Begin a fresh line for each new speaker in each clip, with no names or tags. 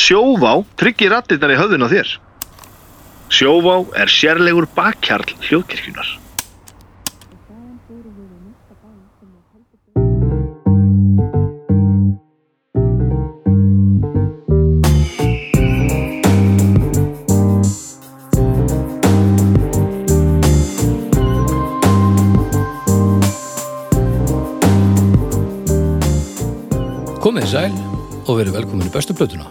Sjóvá tryggir rattirnar í höfðun á þér. Sjóvá er sérlegur bakkjarl hljóðkirkjunar.
Komið þið sæl og verið velkomin í bestu plötuna.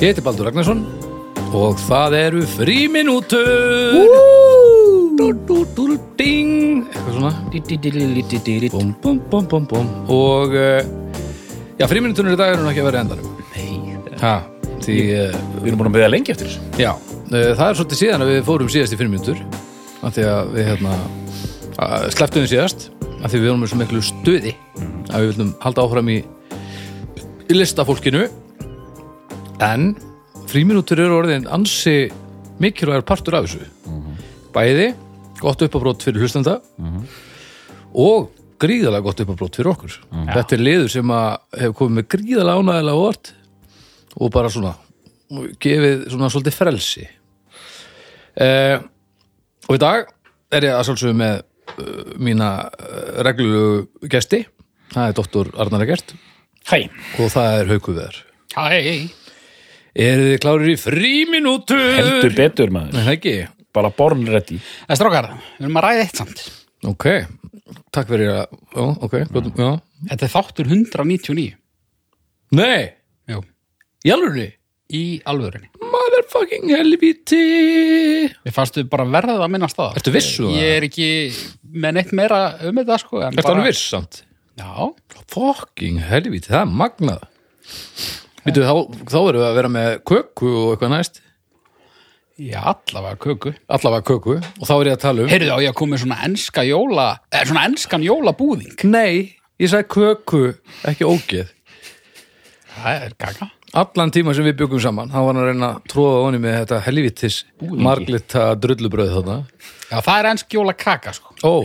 Ég heiti Baldur Ragnarsson og það eru fríminútur! Dú, dú, dú, dú, Ding! Eitthvað svona. Dí, dí, dí, dí, dí, dí, dí. Búm, búm, búm, búm, búm. Og eh, já, fríminúturinn í dag eru nú ekki að vera í endanum. Nei. Ha, því, eh,
Við erum búin að beða lengi eftir þessu.
já, eh, það er svolítið síðan að við fórum síðast í fríminútur. Af því að við hérna slepptum við síðast. Af því við erum með svo miklu stuði að við viljum halda áfram í í listafólkinu en fríminútur eru orðin ansi mikilvægur partur af þessu bæði gott uppafrót fyrir hlustanda og gríðalega gott uppafrót fyrir okkur þetta er liður sem að hefur komið með gríðalega ánægilega vort og bara svona gefið svona svolítið frelsi eh, og í dag er ég að svolsögum með uh, mína uh, reglulegu gesti það er dóttur Arnar Egert
Hæ.
og það er haukuveðar
Hæ.
Eru þið klárir í fríminútur?
Heldur betur
Nei,
maður.
það ekki.
Bara born ready.
En strókar, Eh, við erum að ræða eitt samt.
Ok, takk fyrir að, já, ok, gott, já.
Þetta er þáttur 199.
Nei,
Jú.
í alvörni,
Í alvörinni.
motherfucking helviti.
Við fannstu bara verðið að minnast það.
Ertu viss um það?
Ég er ekki með neitt meira um þetta, sko. en
Ertu
bara-
alveg viss samt?
Já.
Fucking helviti, það er magnað. Vítu, þá, þá erum við að vera með köku og eitthvað næst.
Ég allavega köku.
Allavega köku, og þá er ég að tala um.
Heyrðu á, ég kom með svona enska jóla, eh, svona enskan jólabúðing.
Nei, ég sagði köku, ekki ógeð.
Það er kaka.
Allan tíma sem við byggum saman, hann var hann að reyna að tróða honni með þetta helvitis
Búðingi.
marglita drullubröð þarna.
Já, það er ensk jólakaka, sko.
Ó,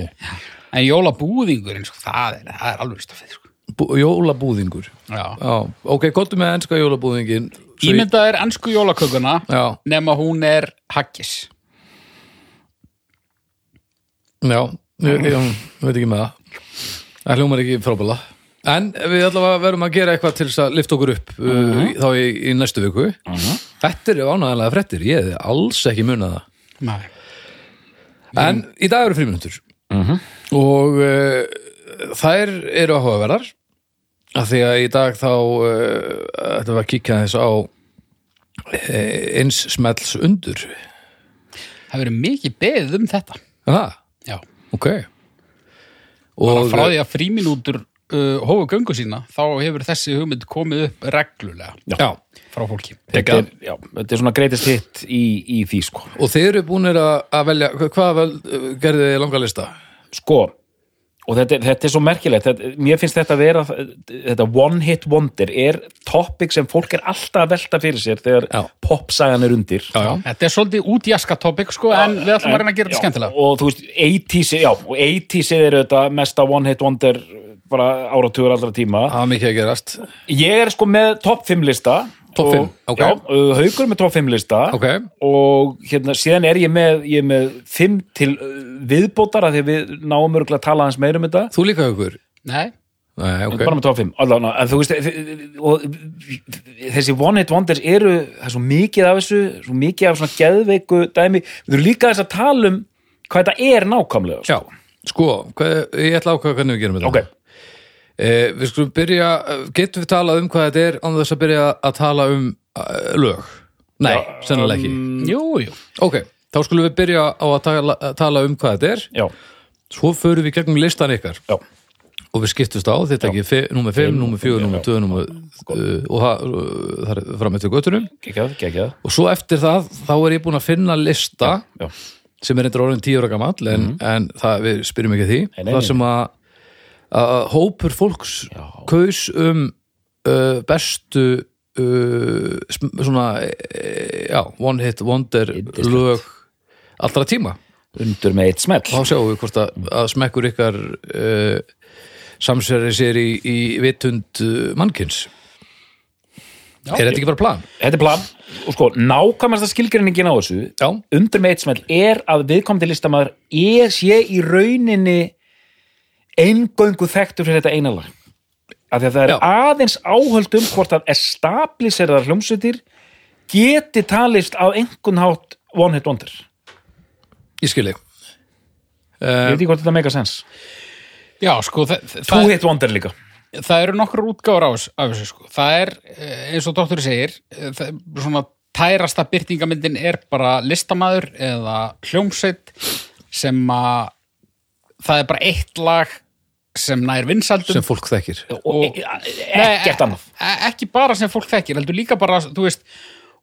En jólabúðingurinn, sko, það er, það er alveg stafið, sko.
bú, jólabúðingur.
Já.
Já, ok, gottum með ennska jólabúðingin. Svo ég-
Ímyndað er ensku jólakökuna,
Já.
nema hún er haggis.
Já, ég, ég, ég veit ekki með það. Það hljómar ekki frábæla. En við allavega verum að gera eitthvað til þess að lifta okkur upp uh þá í, í næstu viku. Þetta eru ánægilega frettir, ég hefði alls ekki munað það.
Nei.
En í dag eru fríminútur og uh, þær eru áhugaverðar af því að í dag þá uh, ætlum við að kíkja þess á uh, eins smelts undur
Það verður mikið beðið um þetta.
Það,
Já.
ok
og
Og
frá því að fríminútur uh, hófu göngu sína þá hefur þessi hugmynd komið upp reglulega
já,
frá fólki
Þetta
Þetta
er-
er, já, þetta er svona greatest hit í, í því, sko.
og þið eru búinir að, að velja hva- hvað vel, uh, gerðu þið langa lista?
Sko, og þetta, er- þetta er svo merkilegt. Þetta, mér finnst þetta að vera, þetta one hit wonder er topic sem fólk er alltaf að velta fyrir sér þegar
Já.
popsagan er undir.
Já, já,
þetta er svolítið útjaska topic sko en við ætlum að reyna að gera þetta skemmtilega
og þú veist, 80s, já, og 80s eru þetta mesta one hit wonder bara áratugur allra tíma
það var mikið að gerast
ég er sko með topp 5 lista
Topp fimm,
og-
ok.
já, uh, haukur er með topp 5 lista
Ok,
og hérna, síðan er ég með, ég er með 5 til uh, viðbótar af því að við náum örgulega að tala hans meira um þetta
þú líka ykkur
Nei,
Nei,
Ég
ok,
er bara með topp 5 allan, en þú veist þ- og þessi one hit wonders eru það er svo mikið af þessu, svo mikið af svona geðveiku dæmi, við erum líka þess að tala um hvað þetta er nákvæmlega sko.
já, sko hvað, ég ætla að ákveða hvernig við gerum þetta
ok,
Eh, við skulum byrja, getum við talað um hvað þetta er án þess að byrja að tala um uh, lög? Nei, sennilega ekki.
um-
jú, jú
Ok, þá skulum við byrja á að tala, að tala um hvað þetta er.
já,
Svo förum við gegnum listan ykkar
já
og við skiptumst á þetta ekki nummer 5, nummer 4, nummer 2, nummer og það uh, það er fram eftir göttunum.
geggjað, geggjað
Og svo eftir það, þá er ég búin að finna lista
já, Mhm.
sem er eitthvað orðin tíu ára gamall en, en það, við spyrjum ekki að því
Nei, nei,
það
nei.
sem að, að hópur fólks
Já.
kaus um uh, bestu uh, sm- svona uh, já, one hit wonder
Yndislegt.
lög allra tíma
undur með eitt smell
þá sjáum við hvort
Mm.
að, að smekkur ykkar e-, uh, samsverði sér í, í vitund uh, mannkins e, er þetta ekki bara plan?
Þetta er plan og sko, nákvæmasta skilgreiningin á þessu
Já,
undir með eitt smell er að viðkomandi listamaður er sé í rauninni eingöngu þekktur fyrir þetta eina lag af því að það er
Já.
aðeins áhöld um hvort að establisherðar hljómsveitir geti talist á einhvern hátt one hit wonder
ég skil ég
ég veit ekki hvort þetta mega sens
Já, sko, það, það,
two hit wonder líka
það eru nokkur útgáður á þessu- af þessu sko. það er, eh, eins og doktor segir eh, það, er svona tærasta byrtingamyndin er bara listamaður eða hljómsveit sem að það er bara eitt lag sem nær vinsaldum
sem fólk þekkir
og
Og-
E- ekkert
Nei,
annað
e- e- ekki bara sem fólk þekkir, heldur líka bara þú veist,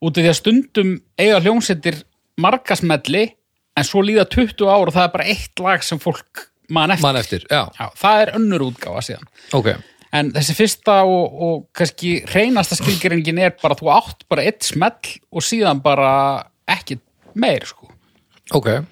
út af því að stundum eiga hljómsettir markasmelli en svo líða 20 ár og það er bara eitt lag sem fólk man eftir,
mann eftir, já,
Já, það er önnur útgáfa síðan
ok
en þessi fyrsta og, og kannski reynasta skilgeringin er bara þú átt bara eitt smell og síðan bara ekki meir sko
ok,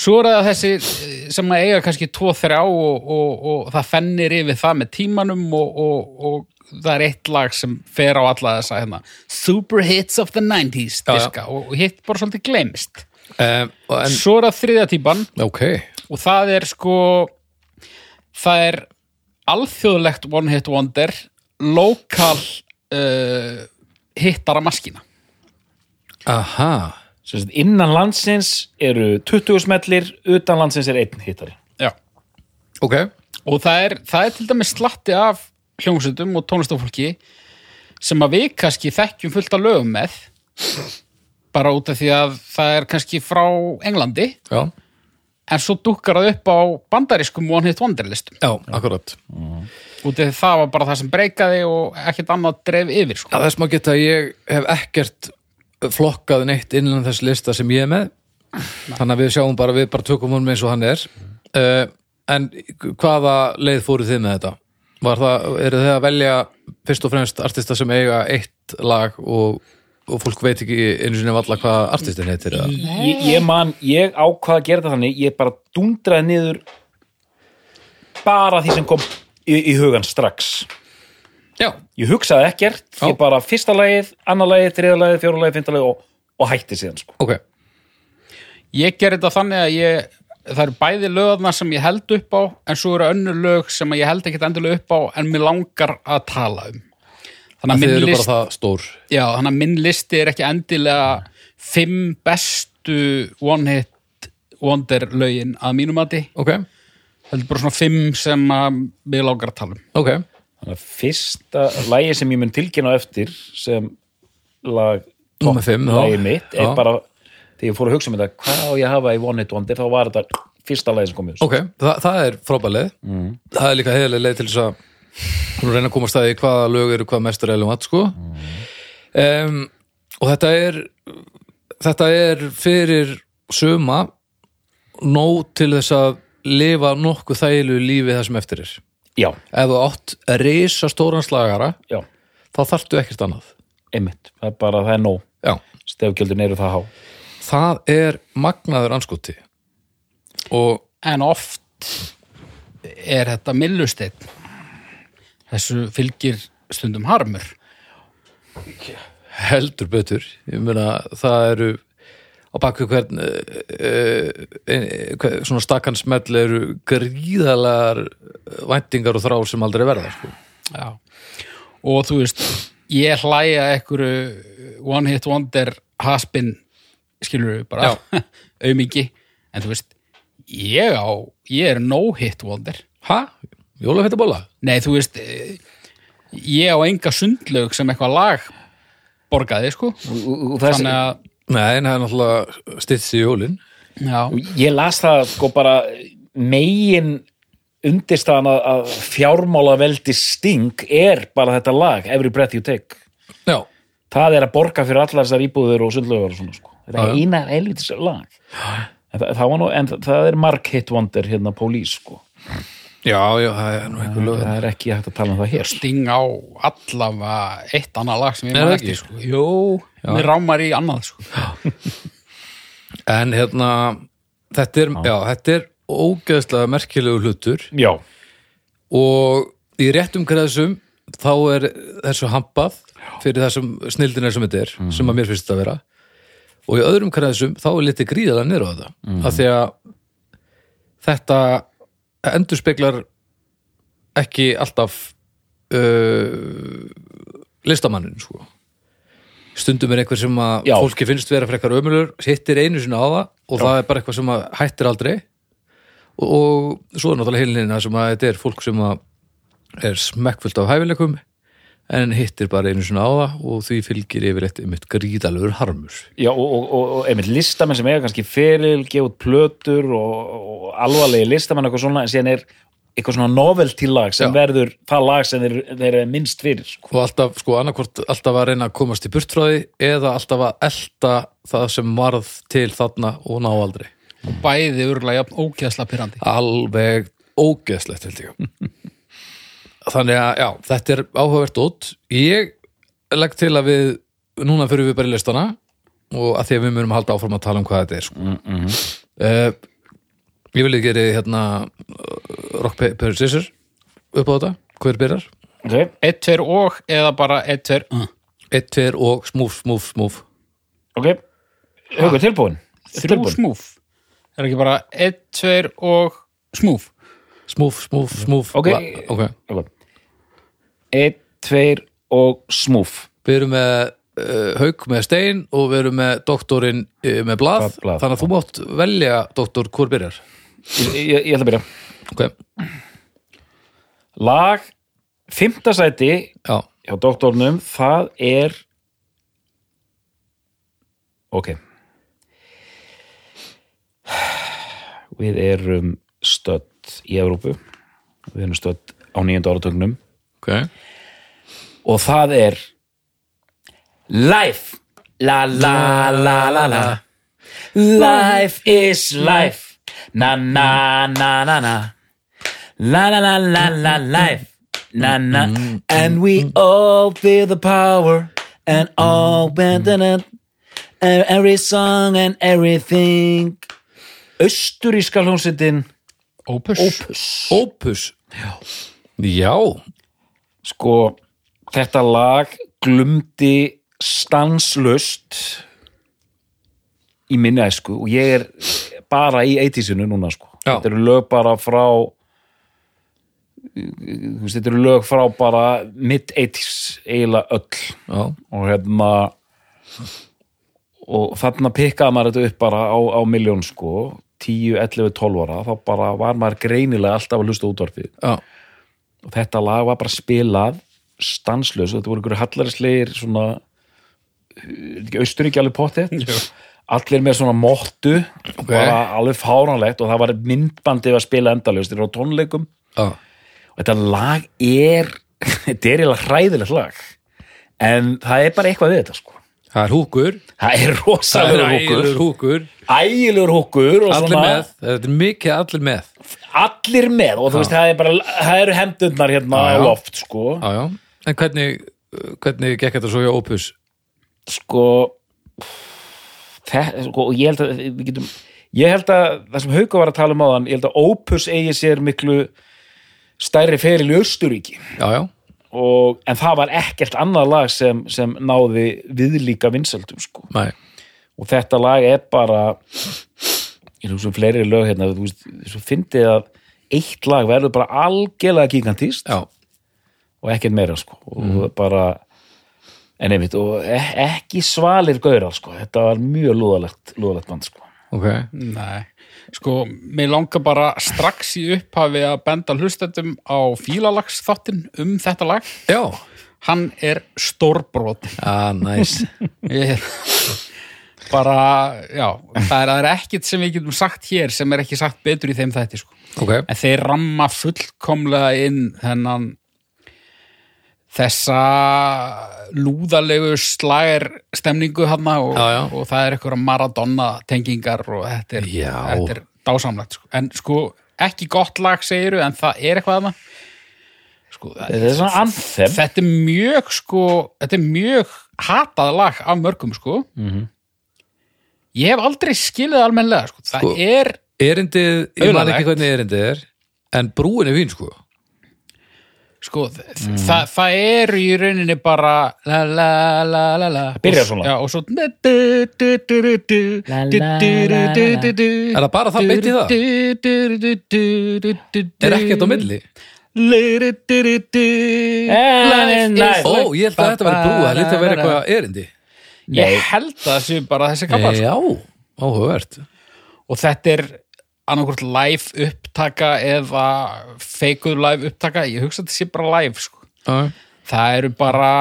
Svo er það þessi eh, sem að eiga kannski 2-3 og, og, og það fennir yfir það með tímanum og, og, og það er eitt lag sem fer á alla þessa hérna, Super Hits of the 90s
Já, já.
diska og og hitt bara svolítið gleymist.
um, en,
Svo er það þriðja típan
ok
og það er sko, það er alþjóðlegt One Hit Wonder, lokal uh, hittara maskina.
aha,
Sem sagt, innan landsins eru 20 smellir utan landsins er einn hittari
Já.
ok
og það er, það er til dæmis slatti af hljómsveitum og tónlistafólki sem að við kannski þekkjum fullt af lögum með bara út af því að það er kannski frá Englandi
já,
en svo dukkar það upp á bandarískum One Hit Wonder listum
já, akkurat
út af því það var bara það sem breykaði og ekkert annað dreif yfir sko.
að þess má geta að ég hef ekkert flokkað neitt innan þess lista sem ég er með þannig að við sjáum bara, við bara tökum honum eins og hann er uh, en hvaða leið fóruð þið með þetta? Var það, eru þið að velja fyrst og fremst artista sem eiga eitt lag og, og fólk veit ekki einu sinni valla hvað artistin heitir eða?
ég, ég man, ég ákvað að gera þetta þannig ég bara dundraði niður bara því sem kom í, í hugan strax
Já,
ég hugsaði ekkert,
Já.
ég bara fyrsta lagið annað lagið, þriða lagið, fjóra lagið, fynda lagið og, og hætti síðan sko
ok
ég ger þetta þannig að ég það eru bæði lögðarna sem ég held upp á en svo eru önnur lög sem að ég held ekkert endilega upp á en mér langar að tala um þannig að
Þið
minn
eru bara
list
það stór
Já, þannig að minn listi er ekki endilega fimm bestu One Hit Wonder lögin að mínum mati.
Ok,
Það er bara svona fimm sem að við lágar að tala um.
ok,
þannig að fyrsta lagið sem ég mun tilkynna á eftir sem lag
Númer fimm, já.
lagið mitt er
Já.
bara, þegar ég fór að hugsa um þetta hvað á ég að hafa í One Hit Wonder, þá var þetta fyrsta lagið sem kom í þessu
ok Þa, Það er frábæð leið Það er líka heiðlega leið til þess að hún reyna að komast að því hvaða lög eru hvað mestur eða mat sko um, Og þetta er þetta er fyrir suma nóg til þess að lifa nokkuð þægilu lífi það sem eftir er
já,
Ef þú átt risa stóran slagara
já,
þá þarftu ekkert annað
einmitt það er bara, það er nóg,
Já,
stefgjöldin eru það há
það er magnaður anskoti og
En oft er þetta millusteinn. Þessu fylgir stundum harmur.
heldur betur ég meina það eru á baku hvern uh, uh, svona stakkan smell eru gríðalegar væntingar og þrár sem aldrei verða sko.
Já. Og þú veist, ég hlæja einhverju uh, One Hit Wonder haspin, skilur við bara, aumingi. En þú veist, ég á, ég er no hit wonder.
ha? Jólafettabóla?
Nei, þú veist, eh, ég á enga sundlaug sem eitthvað lag borgaði, sko. Þannig
Þannig
að,
Nei, en það er náttúrulega styrst í jólin
já,
að ég las það sko bara megin undirstaðan að, að fjármála veldi Sting er bara þetta lag Every Breath You Take
Já,
það er að borga fyrir allar þessar íbúður og sundlaugar og svona sko þetta
Já,
er
já.
eina helvitis lag en það, það var nú, en það, það er mark hit wonder hérna pólís sko
já, já, það er nú einhver lög
það er ekki hægt að tala um það hér
sting á allavega eitt annað lag sem ég
Nei,
maður
það ekki.
eftir, sko. Jó, mér rámar í annað, sko.
En hérna þetta er, já, þetta er ógeðslega merkilegu hlutur
já,
og í réttum kreðsum þá er þessu hampað fyrir það sem snildin er sem þetta er sem að mér finnst þetta að vera og í öðrum kreðsum þá er litið gríðalega niður á þetta mm. af því að þetta endurspeglar ekki alltaf uh, listamannin sko stundum er einhver sem að
Já.
fólki finnst vera frekar ömulur, hittir einu sinni á það og það er bara eitthvað sem að hættir aldrei og, og svo er náttúrulega heilinina sem að þetta er fólk sem að er smekkfullt af hæfileikum en hittir bara einu sinni á það og því fylgir yfir eitt einmitt gríðalegur harmur
Já, og, og, og, og einmitt listamenn sem eiga kannski feril, gefa út plötur og, og alvarlegi listamenn eitthvað svona, en síðan er eitthvað svona novelty-lag sem
Já.
verður það lag sem þeir, þeir eru minnst fyrir sko.
og alltaf, sko, annarkvort alltaf að reyna að komast í burtfráði eða alltaf að elta það sem varð til þarna og ná aldrei
og bæði örgulega jafn ógeðsla pyrrandi
alveg ógeðslegt held ég þannig að já, þetta er áhugavert út ég legg til að við núna fyrir við bara í listana og að því að við munum halda áfram að tala um hvað þetta er sko. mm ég vil ekki gera hérna uh, rock paper scissors upp á þetta, hver byrjar?
okay?
1, 2 og eða bara 1, 2 uh.
1, 2 og smúf, smúf, smúf
ok, hugur tilbúin
þrjú smúf er ekki bara 1, 2 og smúf
smúf, smúf, smúf
Ok.
la- ok,
okay. einn, tveir og smúf
við erum með uh, hauk með stein og við erum með doktorinn uh, með blað,
Blað, blað.
þannig að þú mátt velja doktor hvort byrjar
ég, ég, ég ætla að byrja
ok,
lag, fymta sæti
já,
hjá doktornum, það er ok við erum stödd í Evrópu við erum stödd á nýjönda áratögnum
ok
og það er life la la la la la life is life na na na na na la la la la la life na na and we all feel the power and all bend in it and every song and everything Östuríska hljómsveitin
Opus,
opus, já
sko þetta lag glumdi stanslust í minni æsku og ég er bara í 80-sinu núna sko
Já.
þetta eru lög bara frá þú veist, þetta eru lög frá bara mid 80s eiginlega öll
já,
og hérna og þarna pikkaði maður þetta upp bara á, á miljón sko 10, 11, 12 ára þá bara var maður greinilega alltaf að hlusta á útvarpið
já,
og þetta lag var bara spilað stanslaus og þetta voru einhverju hallarislegir svona austuríkja alveg pottið allir með svona móttu bara alveg fáránlegt og það var myndbandið að spila endalaust þeir eru á tónleikum
já,
og þetta lag er þetta er eiginlega hræðilegt lag en það er bara eitthvað við þetta sko
það er húkur
það er rosalegur húkur
ægilegur húkur,
ægilegur húkur og
allir
svona
með þetta er mikið allir með
allir með og þú veist það er bara það eru hendurnar hérna
Já,
á
já.
loft sko
já, já, en hvernig uh, hvernig gekk þetta svo hjá opus
sko þe- sko, og ég held að við getum ég held að það sem Hauka var að tala um áðan ég held að Opus eigi sér miklu stærri feril í Östuríki
já, já,
og, en það var ekkert annað lag sem, sem náði viðlíka vinsaldum sko.
næ,
og þetta lag er bara ég hugsa um fleiri lög hérna þú veist, svo fyndið að eitt lag verður bara algjörlega gigantist
já,
og ekkert meira sko og bara en einmitt og e ekki svalir gaurar sko þetta var mjög lúðalegt, lúðalegt band sko
ok
Nei, sko, mér langar bara strax í upphafi að benda hlustendum á fílalags þáttinn um þetta lag.
já,
Hann er stórbrot.
ah, nice
Ég, bara, já, það er, það er ekkit sem við getum sagt hér sem er ekki sagt betur í þeim þætti, sko.
ok,
En þeir ramma fullkomlega inn þennan þessa lúðalegu slagir stemningu hana og,
Já, já.
og það er eitthvað Maradona tengingar og þetta er,
Já.
þetta er dásamlegt sko. en sko ekki gott lag segiru en það er eitthvað hana sko, það-
þetta er svona anthem
þetta er mjög sko þetta er mjög hatað lag af mörgum sko -hmm.
Mhm.
ég hef aldrei skilið almennlega sko. það
Sko,
er
erindið, ég man
Auðvitað.
ekki hvernig erindið er en brúin er vín sko
sko, mm. það, það eru í rauninni bara la la la la la
Byrjar svona.
já, og svo du, du, du, du, du, du,
La, la,
du, du,
la, la.
du, du, du, du.
Er það bara það beint í það?
Du, du, du, du, du, du, du.
Er ekkert á milli?
Lu, du, du, du, du. Life is
nice.
Ó,
like-
ég held að þetta veri brúa, það lítið að vera eitthvað erindi
ég held að það séu bara þessi kaplar sko.
Já, áhugavert
og þetta er annarkvort live upptaka eða feikuð live upptaka ég hugsa að þetta sé bara live sko.
Já,
það eru bara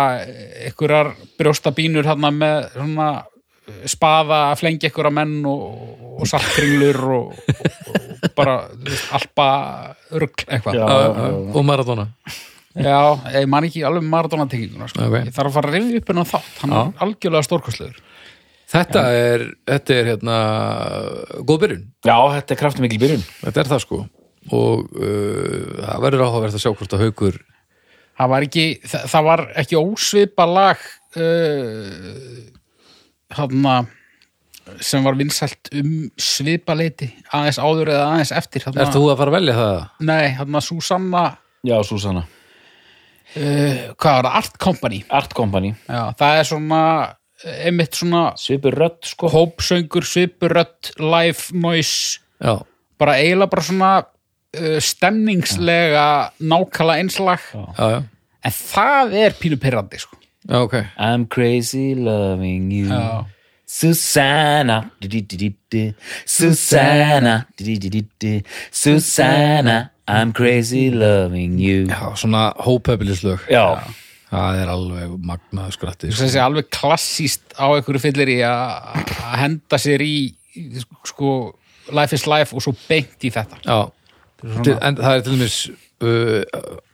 einhverjar brjóstabínur hérna með svona eh, spaða að flengja einhverja menn og, og saltkringlur og, og, og bara þú veist, alpa rugg eitthvað
Já,
já,
já,
já.
já.
Og Maradona
Já, ég man ekki alveg Maradona-tenginguna sko.
Ok.
ég þarf að fara að rifja upp hennan þátt hann
Já.
er algjörlega stórkostlegur
Þetta er, þetta er hérna góð byrjun,
Já, þetta er kraftum mikil byrjun
þetta er það sko og uh, það verður áhugavert að sjá hvort að haukur
það var ekki, það, það var ekki ósvipa lag uh, hann sem var vinsælt um svipa leiti aðeins áður eða aðeins eftir þarna-
Ert þú að fara að velja það?
Nei, hann að Susanna eh,
Já, Susanna
hvað var það, Art Company
Art Company,
já, það er svona, eh, einmitt svona
svipur rödd sko
hópsöngur, svipurödd live noise,
Já,
bara eiginlega bara svona uh, stemningslega nákala einslag
já, já,
en það er pínu pyrrandi sko.
já, ok
I'm crazy loving you
Já.
Susanna du-du-du-du-du. Susanna du-du-du-du-du. Susanna I'm crazy loving you
Já, svona hópefilislög
Já.
Það er alveg magnaðu skratti
þessi er alveg klassíst á einhverju fyllir í að að henda sér í í, sko, life is life og svo beint í þetta
Já, til, en það er til dæmis uh,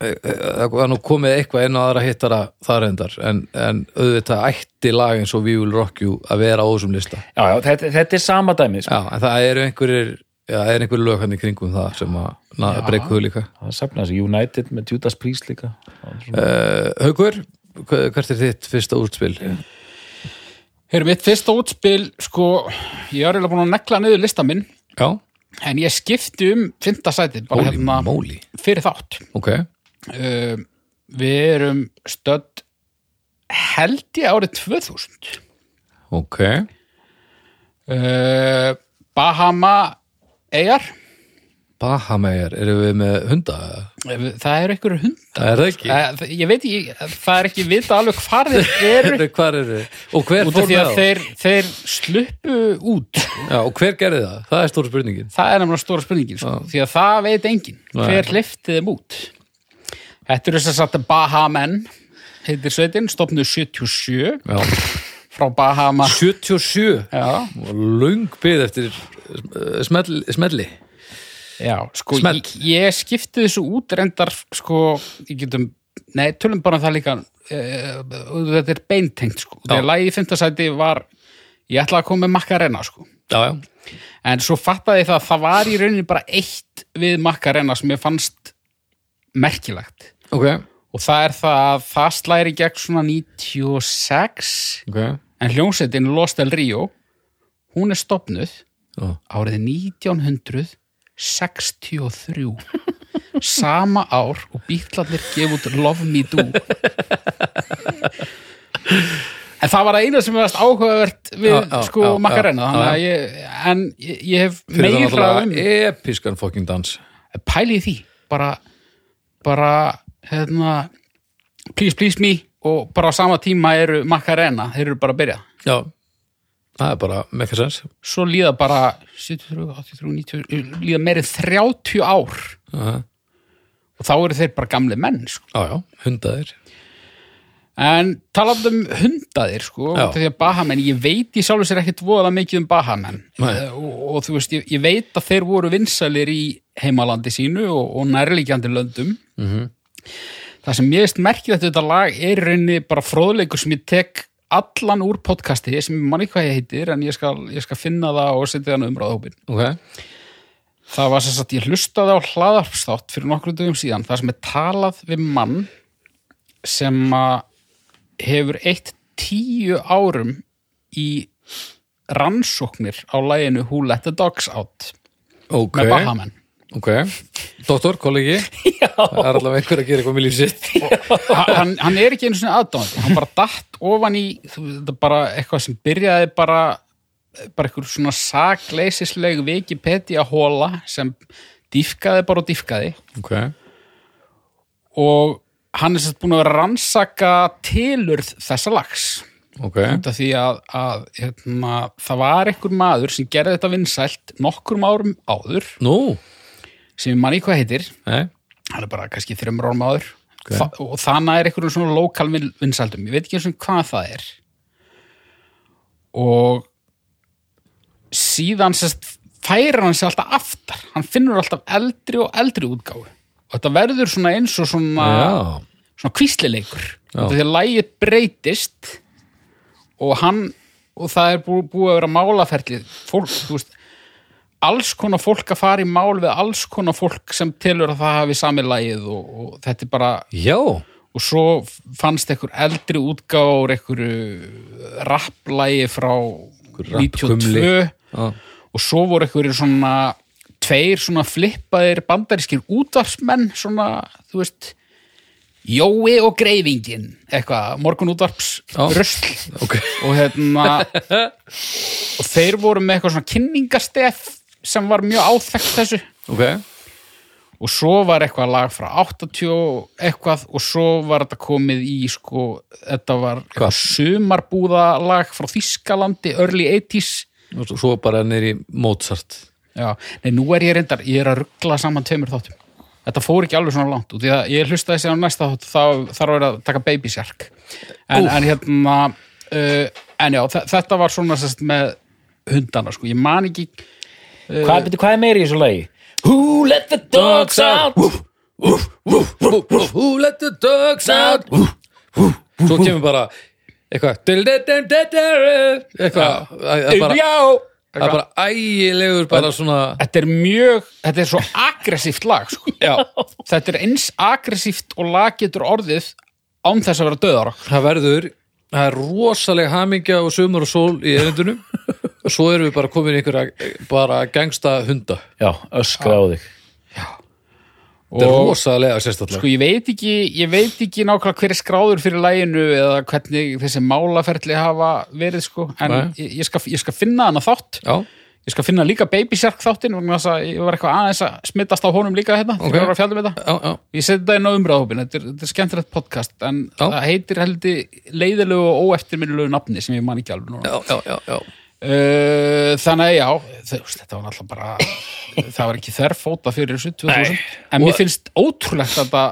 eh, eh, það er nú komið eitthvað einn og aðra hittara þar endar en, en auðvitað ætti lag eins og We Will Rock You að vera á þessum lista
já, já þetta, þetta er sama dæmi sko.
Já, en það eru einhverjir já, það eru einhverjir lög hann í kringum það sem að na, breykuðu líka
Það safnaði þessi United með Judas Priest líka
uh, Haukur, hva- hvert er þitt fyrsta útspil?
Heyrðu, mitt fyrsta útspil, sko, ég er eiginlega búin að negla niður lista minn,
Já,
en ég skipti um fymta sæti, bara
Holy
hérna
moly
fyrir þátt.
Ok,
Uh, við erum stödd held ég árið 2000.
ok
Uh, Bahama eigar,
Bahameyer, erum við með hunda? eða?
það eru einhverju hund.
Það er það ekki
Uh, ég veit ekki, það er ekki vita alveg hvar þeir eru
Heyrðu, Hvar eru? Og hver
út af
fór
því
með
að
þá?
þeir, þeir sluppu út.
Já, og hver gerði það? Það er stóra spurningin
Það er nefnilega stóra spurningin, sko, því að það veit enginn. Hver hlifti þeim út? Þetta eru þess að Bahamenn, heitir sveitin, stofnuð 77
Já.
frá Bahama.
77
Já,
Og Löng byð eftir eh, smelli, smelli.
já, sko,
Smell.
ég, ég skipti þessu út reyndar, sko, ég getum, nei, tölum bara um það líka, uh, þetta er beintengt, sko. Þegar lagið í fimmtasæti var, ég ætla að koma með Macarena, sko.
Já, já,
En svo fattaði ég það að það var í rauninni bara eitt við Macarena sem ég fannst merkilegt.
ok,
og það er það að það slæri gegn svona 96
ok
en hljómsveitin Lost El Rio hún er stopnuð
Já.
árið 1963 sama ár og bítlarnir gefa út Love Me Do en það var að eina sem verðast áhugavert við
Já, já,
sko
já, já, já,
Macarena þannig
já.
að ég, en ég, ég hef
Fyrir það
meira um
náttúrulega episkan fokking dans
pæli í því bara, bara hérna, please please me og bara á sama tíma eru Macarena þeir eru bara að byrja
Já, það er bara mekka sens
svo líða bara 73, 83, 90, líða meirið 30 ár
Já,
og þá eru þeir bara gamli menn sko.
já, já, hundaðir
en talandi um hundaðir sko,
Já.
því að Bahamenn, ég veit í sjálfur sér ekkit voða mikið um Bahamenn
Nei.
Eh, og, og þú veist, ég, ég veit að þeir voru vinsalir í heimalandi sínu og, og nærlíkjandi löndum
Mhm.
það sem ég veist merkið þetta lag er í rauninni bara fróðleikur sem ég tek allan úr podcasti sem ég man ekki hvað ég heitir en ég skal, ég skal finna það og setja þannig umráðhópin
Ok,
það var sem sagt ég hlustaði á hlaðarpstátt fyrir nokkru dögum síðan það sem er talað við mann sem að hefur eitt tíu árum í rannsóknir á laginu Who Let the Dogs Out
ok
með Bahamenn
Ok, doktor, kollegi Það er allavega einhver að gera eitthvað með líf sitt
hann, hann er ekki einu svona aðdóðandi hann bara datt ofan í þú- þetta bara eitthvað sem byrjaði bara bara einhver svona sakleisisleg Wikipedia hóla sem dýfkaði bara og dýfkaði
Ok,
og hann er sérst búin að vera að rannsaka tilurð þessa lags
ok
út af því að, að hérna, það var einhver maður sem gerði þetta vinsælt nokkrum árum áður
Nú,
sem ég manni hvað heitir
nei,
hann er bara kannski þremur árum áður Þa, og þannig er einhverjum svona lokal vin- vinsældum ég veit ekki eins og hvað það er og síðan sérst færir hann sér alltaf aftar hann finnur alltaf eldri og eldri útgáfu og þetta verður svona eins og svona
já
svona kvíslileikur
Já.
því að lægið breytist og hann og það er búið, búið að vera málaferlið fólk, þú veist alls konar fólk að fara í mál við alls konar fólk sem telur að það hafi sami lægið og, og þetta er bara
Já,
og svo fannst einhver eldri útgáður einhverju rapplægi frá
rappkumli.
92
já,
og svo voru einhverjir svona tveir svona flippaðir bandarískir útvarpsmenn svona, þú veist Jói og Greifingin eitthvað, morgun útvarps
Já.
rusl
ok
og hérna og þeir voru með eitthvað svona kynningastef sem var mjög áþekkt þessu
Ok,
og svo var eitthvað lag frá 80 og eitthvað og svo var þetta komið í sko, þetta var
Hvað?
sumarbúðalag frá Þískalandi early 80s
og svo- svo bara nýri Mozart
Já, nei, nú er ég reyndar, ég er að ruggla saman tveimur þáttum. Þetta fór ekki alveg svona langt út, því að ég hlustaði sér á næsta þátt, þá þarf að vera að taka baby shark. En, en hérna, uh, en já, þe- þetta var svona sérst með hundana, sko, ég man ekki,
Hvað, byrju, hvað er meira í þessu lagi? Who let the dogs out?
Who let the dogs out Svo kemur bara eitthvað eitthvað það er bara-
já,
það er bara ægilegur bara svona
þetta er mjög, þetta er svo aggressíft lag, sko. Já. Þetta er eins aggressíft og lag getur orðið án þess að vera döðar.
það verður það er rosaleg hamingja og sumur og sól í erindunum og svo erum við bara komin í einhverja bara gangsta hunda
Já, öskra á þig
þetta er rosalega sérstaklega
Sko ég veit ekki, ég veit ekki nákvæmlega hver er skráður fyrir læginu eða hvernig þessi málaferli hafa verið sko, en
Nei.
ég, ég, skal, ég skal finna hana þátt,
já,
ég skal finna líka Baby Shark þáttinn, vegna þess að ég var eitthvað aðeins að smittast á honum líka hérna,
Ok.
þegar ég var að fjalla með þetta.
já, já,
Ég seti þetta inn á umræðahópin, þetta er, þetta er skemmtilegt podcast, en
Já.
það heitir heldur leiðilegu og óeftirminnilegu nafni sem ég man ekki alveg núna.
já, já, já, já.
Uh, þannig að já, þú veist, þetta var náttúrulega bara, það var ekki þerrfóta fyrir þessu 2000, en mér finnst ótrúlegt að þetta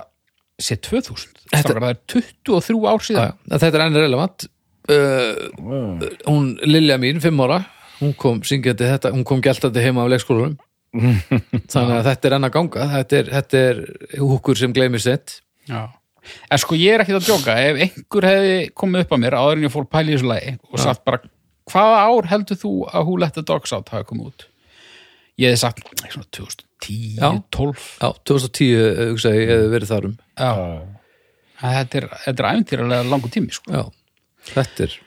sé 2000 þetta... það er 23 ár
Já,
síðan
já. En þetta er enn relevant uh, hún Lilja mín, fimm ára hún kom syngjandi þetta, hún kom gæltandi heima af leikskólanum þannig að þetta er enn að ganga þetta er, þetta er húkur sem gleymist þett
já. en sko ég er ekki að djóka ef einhver hefði komið upp að mér áður en ég fór pæli í þessu lagi og sagt bara hvaða ár heldur þú að Who Let the Dogs Out hafi komið út ég hefði sagt svona 2010,
Já.
12
já, 2010 hugsaði eh, ég hefði verið þar um
já. þetta er, þetta er æfintýralega langur tími sko
já, þetta er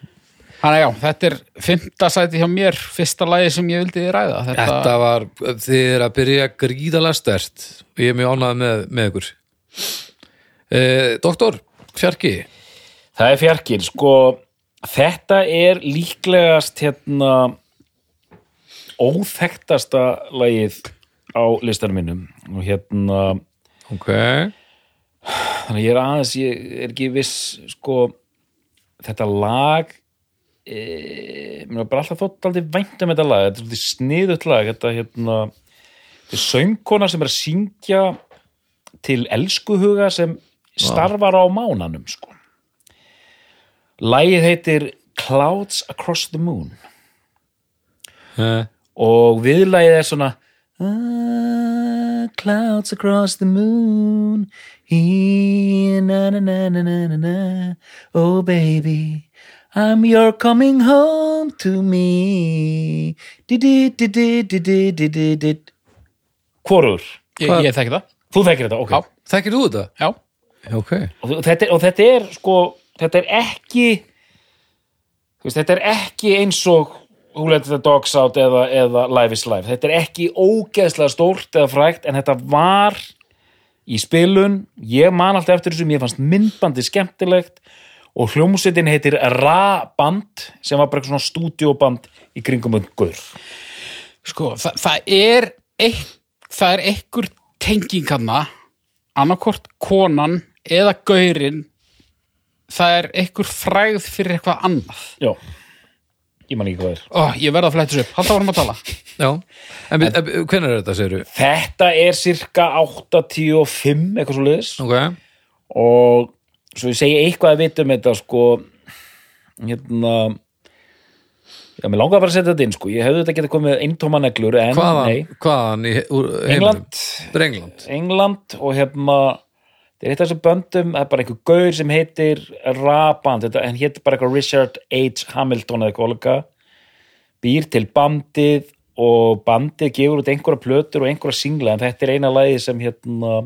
Þannig að já, þetta er fymta sæti hjá mér, fyrsta lagi sem ég vildi ræða. Þetta,
Þetta var, þið er að byrja gríðalega stert og ég er mjög ánægð með, með ykkur eh, Doktor, fjarki
Það er fjarkinn, sko þetta er líklegast hérna óþektasta lagið á listanum minnum og hérna,
Ok
þannig að ég er aðeins ég er ekki viss, sko þetta lag e, mér er bara alltaf þótt aldrei vænt um þetta lag, þetta er svolítið sniðut lag þetta hérna þetta er söngkona sem er að syngja til elskuhuga sem starfar á mánanum, sko Lagið heitir Clouds Across the Moon
eh,
og viðlagið er svona Ah, Clouds across the moon He, na, na, na, na, na, na, na. Oh baby I'm your coming home to me Di-di-di-di-di-di-di-di-di Hvorur?
ég,
Hvað-
ég þekki það.
Þú þekkir þetta, ok
Já.
Þekkir þú þetta?
Já.
Ok
og þe- og þetta, er- og þetta er sko þetta er ekki þú veist, þetta er ekki eins og Who Let the Dogs Out eða, eða Life is Life þetta er ekki ógeðslega stórt eða frægt en þetta var í spilun, ég man alltaf eftir þessu mér fannst myndbandi skemmtilegt og hljómsveitin heitir Ra-band sem var bara eitthvað svona stúdíoband í kringum um guður
Sko, þa það er eitt, það er einhver tenging hana annarkort konan eða gaurin það er einhver frægð fyrir eitthvað annað
já, ég man ekki hvað það er
Ó, ég verða að flæta þessu upp, halda árum að tala
Já, en við, hvernig er þetta, segirðu?
þetta er cirka 85 eitthvað svo liðis
Ok,
og svo ég segi eitthvað að vita um þetta sko hérna já, mér langaði bara að setja þetta inn sko ég hefði þetta getað komið með eintóma neglur en
hvaðan,
nei,
hvaðan í, úr heiminum?
England
Þetta er England
England og hérna þetta er eitt af þessu böndum, það er bara einhver gaur sem heitir Raband, þetta, en hétt bara eitthvað Richard H. Hamilton eða eitthvað olga, býr til bandið og bandið gefur út einhverja plötur og einhverja singla en þetta er eina lagi sem hérna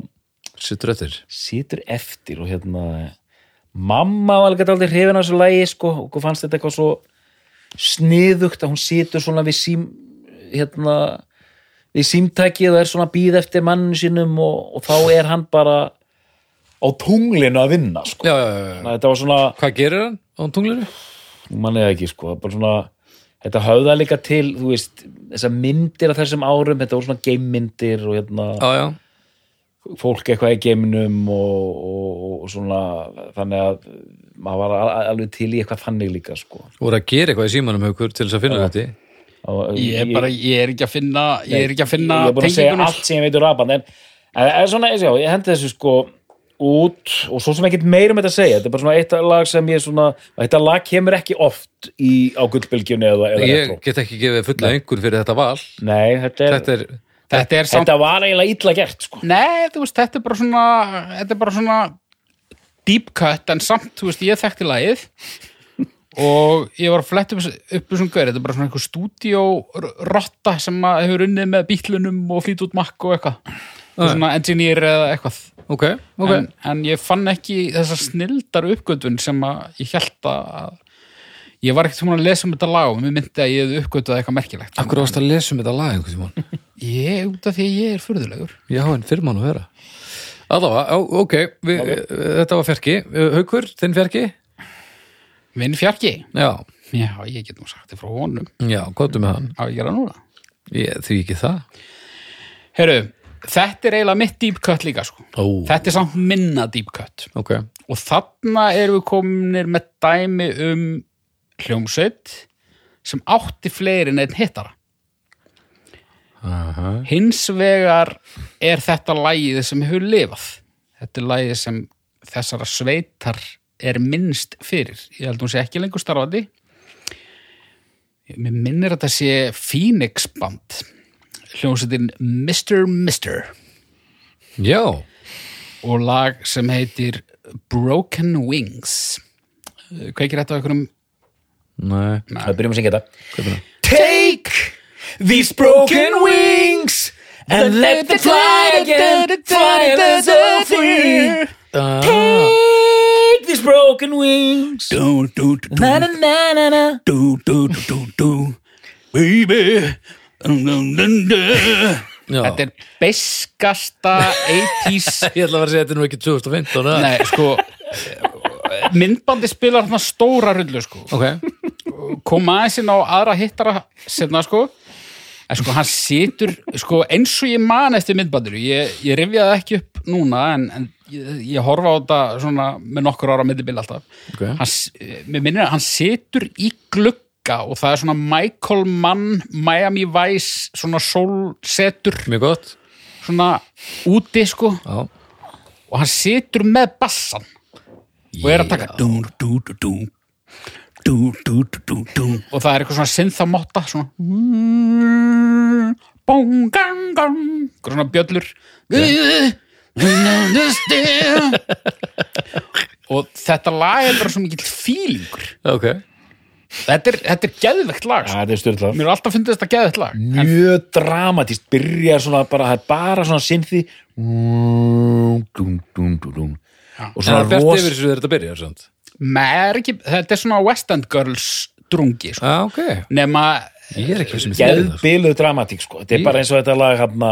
Sittur eftir
situr eftir og hérna mamma var alveg aldrei hrifin á þessu lægi sko og hún fannst þetta eitthvað svo sniðugt að hún situr svona við sím hérna við símtækið og er svona að býð eftir manninu sínum og, og þá er hann bara á tunglinu að vinna sko.
Já, já, já, já.
Þannig að þetta var svona
Hvað gerir hann á tunglinu?
manni það ekki sko bara svona, þetta höfða líka til þú veist, þessar myndir af þessum árum þetta voru svona geimmyndir og hérna
Já, já,
fólk eitthvað í geiminum og, og, og, og svona þannig að maður var al- alveg til í eitthvað þannig líka sko
voru að gera eitthvað í símanum haukur til þess að finna þetta í.
Og-
Ég er bara, ég er ekki að finna ég er ekki að finna
ég er búin að segja allt sem ég veit um rapan en, en, en svona, já, ég hendi þessu sko út og svo sem ekkert meira um þetta að segja þetta er bara svona eitt lag sem ég svona þetta lag kemur ekki oft í, á gullbylgjunni eða, eða
Ég
retro.
get ekki gefið fulla einhvern fyrir þetta val
nei, þetta, er,
Þetta er,
Þetta er samt,
þetta var eiginlega illa gert sko
nei, þú veist, þetta er bara svona þetta er bara svona deep cut, en samt, þú veist, ég þekkti lagið og ég var að fletta upp, upp þessum gaur, þetta er bara svona einhver stúdíó rotta sem að hefur unnið með bítlunum og flýt út makk og eitthvað Þetta er svona engineer eða eitthvað
ok, ok
en, en ég fann ekki þessa snildar uppgötun sem að ég held að ég var ekkert svona að lesa um þetta lag og mér myndi að ég hefði uppgötuð eitthvað merkilegt
Akkur ást að lesa um þetta lag einhvern tímann
ég, út af því að ég er furðulegur
Já, en fyrir mann að vera Allavega, á- ok, við, þetta var ferki Haukur, þinn ferki?
minn fjarki,
Já,
já, ég get nú sagt þið frá honum
já, gotum með hann
á ég gera núna
ég, Því ekki það
Heru, þetta er eiginlega mitt deep cut líka sko.
Ó.
þetta er samt minna deep cut
Ok,
og þarna erum við kominir með dæmi um hljómsveit sem átti fleiri en einn hittara
Aha.
hins vegar er þetta lægið sem hefur lifað þetta er lægið sem þessara sveitar er minnst fyrir ég held hún sé ekki lengur starfandi mér minnir að þetta sé Phoenix band hljómsveitin Mr. Mister
já,
og lag sem heitir Broken Wings kveikir þetta á einhverjum
nei
við byrjum að syngja þetta
Take
These broken wings And let them fly again Fly as a free Take these broken wings
do, do, do,
Na na na na na
do, do, do, do, do. Baby Dun, dun, dun, dun.
já.
Þetta er beskasta 80s
Ég ætla að vera að segja þetta er nú ekki 2015 eða?
Nei, sko myndbandi spilar þarna stóra rullu sko.
Ok,
kom aðeins inn á aðra hittara sefna sko en sko hann situr sko, eins og ég man eftir myndbandiru ég, ég rifjaði ekki upp núna en, en ég, ég horfa á þetta svona með nokkur ára myndibill alltaf
Ok.
hann, s- eh, mér minnir að hann situr í glugga og það er svona Michael Mann Miami Vice svona sólsetur
mjög gott
svona úti sko
Já,
og hann situr með bassan og er að taka dú, dú, dú, dú. Dú, dú, dú, dú, dú. og það er eitthvað svona synthamotta svona bóng, gang, gang eitthvað svona bjöllur og þetta lag er bara svo mikill fílingur
ok
þetta er, þetta er geðvegt lag sko.
Það er styrla
mér er alltaf fundið þetta geðvegt lag
Mm. Mjög dramatist Byrjar svona bara Það er bara svona sinnþi Og
En það
svona
er bjart
ros
yfir þessu þegar þetta byrjar samt
Mér er ekki, þetta er svona West End Girls drungi sko.
Já, ok
nema
ég er ekki vissum
geðbiluð dramatík sko. þetta er
Í.
bara eins og þetta lag hafna,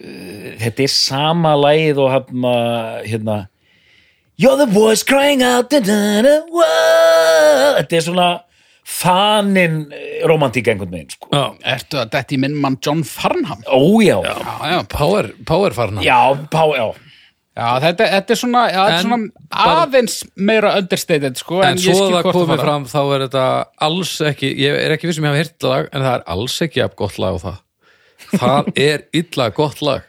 uh, þetta er sama lagið og hafna, hérna You're the voice crying out da, da, da, whoa. þetta er svona fanin eh, romantík einhvern veginn sko.
Ertu að detti minn mann John Farnham?
ójá,
Já, já,
power, power farna
já, pá, já
já þetta, þetta er svona, já, þetta er
En
svona
bara-
aðeins meira understated sko,
en
ég
svo
skil
það
hvort þú
komið
fara.
fram þá er þetta alls ekki ég er ekki vissum ég hafa heyrt lag en það er alls ekki jafn gott lag á það það er illa gott lag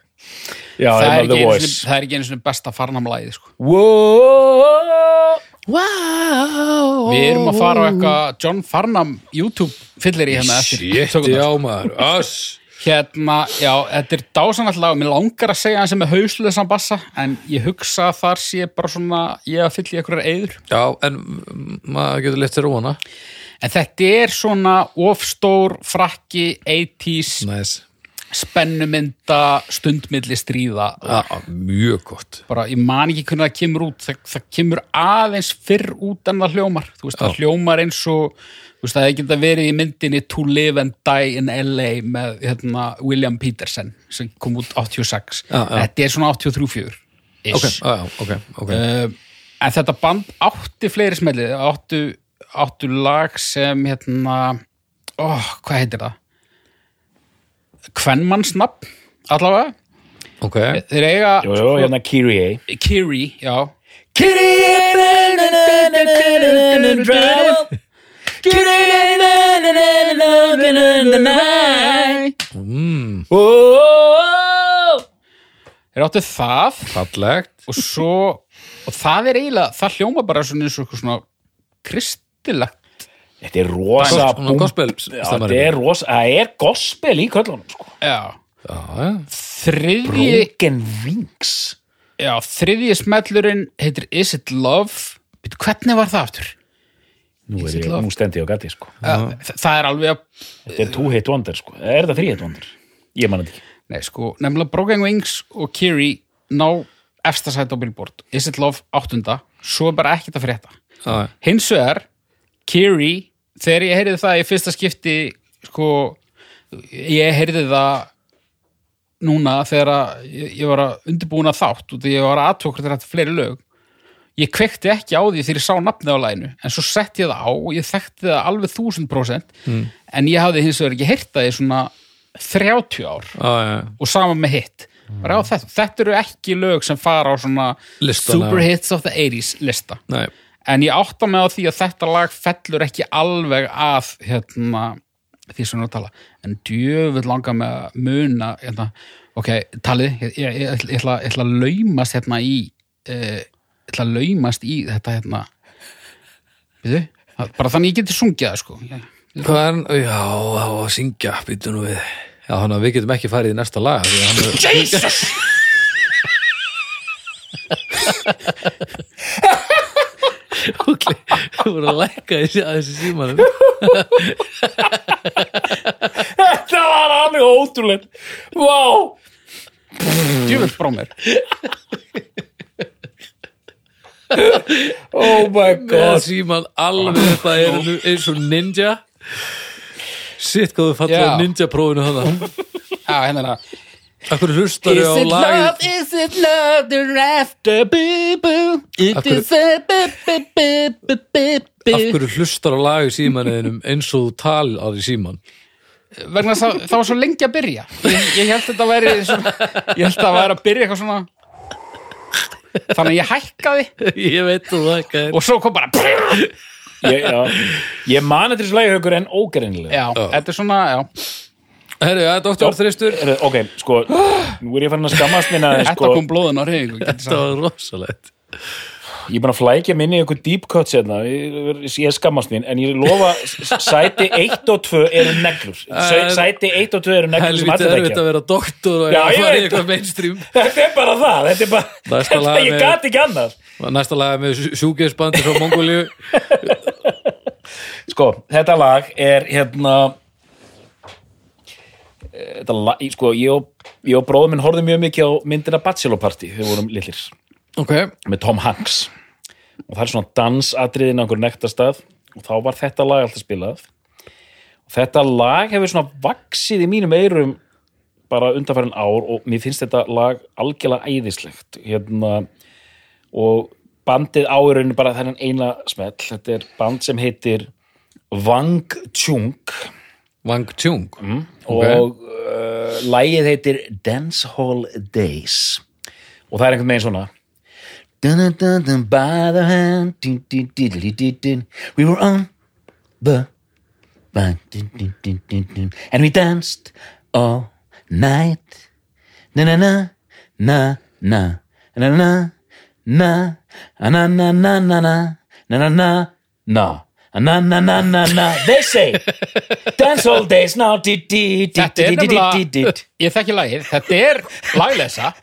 já,
það,
hérna,
er
The
ekki einu
Voice.
sinni- það er ekki einu sinni besta Farnham-lagið sko.
Whoa.
wow
Við erum að fara á eitthvað John Farnham YouTube fyllir í hérna eftir
shit
Tökum það.
já maður ass
Hérna, já, þetta er dásanall lag og mér langar að segja hann sem er hausluðsan bassa en ég hugsa að þar sé bara svona ég að fylla í einhverjar eyður
já en mm, maður getur leitt sér óana
en þetta er svona ofstór, frakki, 80s
næs
spennumynda stundmilli stríða
Já, mjög gott
bara ég man ekki hvernig það kemur út það, það kemur aðeins fyrr út en það hljómar þú veist, það
Já.
hljómar eins og þú veist, það hefði geta verið í myndinni To Live and Die in LA með hérna, William Peterson sem kom út 86
Já, já.
þetta er svona 83-4
Ok, já, já, ok, ok
uh, en þetta band átti fleiri smelli áttu, áttu lag sem hérna ó, hvað heitir það Kvenmannsnafn allavega,
Ok,
þeir eiga
Jú, jú, hérna Kyrie
Kiri, já
Kyrie
Þeir Mm. áttu það
fallegt
og svo, og það er eiginlega, það hljóma bara svona eins og eitthvað svona kristilegt.
Þetta er rosa
Svona
búm-
gospel
Já,
stemmari.
Þetta er rosa, það er gospel í köllunum sko.
Já.
Já, já,
Þriðji,
Broken Wings
já, þriðji smellurinn heitir Is It Love? Býtu, hvernig var það aftur?
Nú, er
Is it
ég,
love?
nú stendi ég á gati sko.
Já. Það er alveg að,
Þetta er two hit wonder sko. Er þetta three hit wonder? Ég man þetta ekki
nei sko, nefnilega Broken Wings og Kiri ná efsta sæti á Billboard. Is It Love áttunda, svo er bara ekkert að frétta.
já, já.
hins vegar Kiri, þegar ég heyrði það í fyrsta skipti sko ég heyrði það núna þegar að ég, ég var að undirbúna þátt og því ég var að aðtók þetta þetta fleiri lög ég kvekti ekki á því þegar ég sá nafnið á læginu en svo sett ég það á og ég þekkti það alveg þúsund prósent en ég hafði hins vegar ekki heyrt það í svona 30 ár
já, já.
og sama með hitt bara á þetta, þetta eru ekki lög sem fara á svona
Listana.
Super Hits of the 80s lista
Nei,
en ég átta mig á því að þetta lag fellur ekki alveg að hérna, því sem við erum að tala en djöfull langar með að muna hérna, ok, talið ég, ég, ég, ætla- ég, ætla, ég ætla að laumast hérna í uh, ætla að laumast í þetta hérna við bara þannig ég geti sungið það sko ég,
hvað er hann? Já, á að syngja, býtu nú við Já, þannig að við getum ekki farið í næsta lag því að hann er-
Jesus
Kúkli, Þú voru að lækka þessi að þessi símanum
Þetta var alveg ótrúlega Vá
djöfull brómir
Oh my
Góð
god
síman alveg upp að erinu eins og ninja Sitt hvað þú fallið
Já.
á ninja prófinu hana
já, hérna það
Akkur hlustar á lagið
is it love, they're after boo boo
Af
it
hverju-
a boo boo boo boo boo
Af hverju hlustar á lagið símaninum eins og þú talar í síman
vegna þess að það var svo lengi að byrja ég, ég held þetta væri svona, ég held að væri að byrja eitthvað svona þannig að ég hækkaði
Ég veit þú það ekki
og svo kom bara já,
Ég, já, ég man þetta þessu lægihaukur en ógerinnilega
þetta er svona, já,
Herru, já, doktor Þristur
Heyrðu, Ok, sko, nú er ég farin að skammast minna
þetta
sko,
kom blóðun á reyningu get ég
Þetta
sagt.
var rosalegt
Ég er búin að flækja minni í einhver deep cut sérna, ég, ég skammast mín en ég lofa, s- sæti 1 og 2 eru neglur Sæ- Sæti 1 og 2 eru neglur
Helvítið
sem allir
erfitt
þekkja.
að vera doktor og
Já,
að fara
ég
í
veit
eitthvað
það.
mainstream
Þetta er bara það, þetta er bara
Næsta
þetta,
lag
Ég
með-
gat ekki annað
Næsta laga með sjúgeisbandi frá Mongóliu
Sko, þetta lag er hérna eh, þetta lag, í- sko, ég og, ég og bróðum minn horfðum mjög mikið á myndina Bachelor Party þegar við vorum lillir,
Ok,
með Tom Hanks og það er svona dansatriðin á einhver nektastað og þá var þetta lag alltaf spilað Þetta lag hefur svona vaksið í mínum eyrum bara undanfærin ár og mér finnst þetta lag algjörlega æðislegt hérna, og bandið áurinn bara þennan eina smell þetta er band sem heitir Wang Chung
Wang Chung mm,
og uh, lægið heitir Dancehall Days og það er einhvern veginn svona dun, dun, dun, dun, by the hand dun, dun, dun, dun, dun, dun. we were on the dun, dun, dun, dun, dun, dun. and we danced all night na na na na na na na na na na na na na na na na na Na na na na na They say Dance all days now di, di, di,
Þetta
di,
er
di, di, di, di.
nefnilega, ég þekki lagið, þetta er laglesa,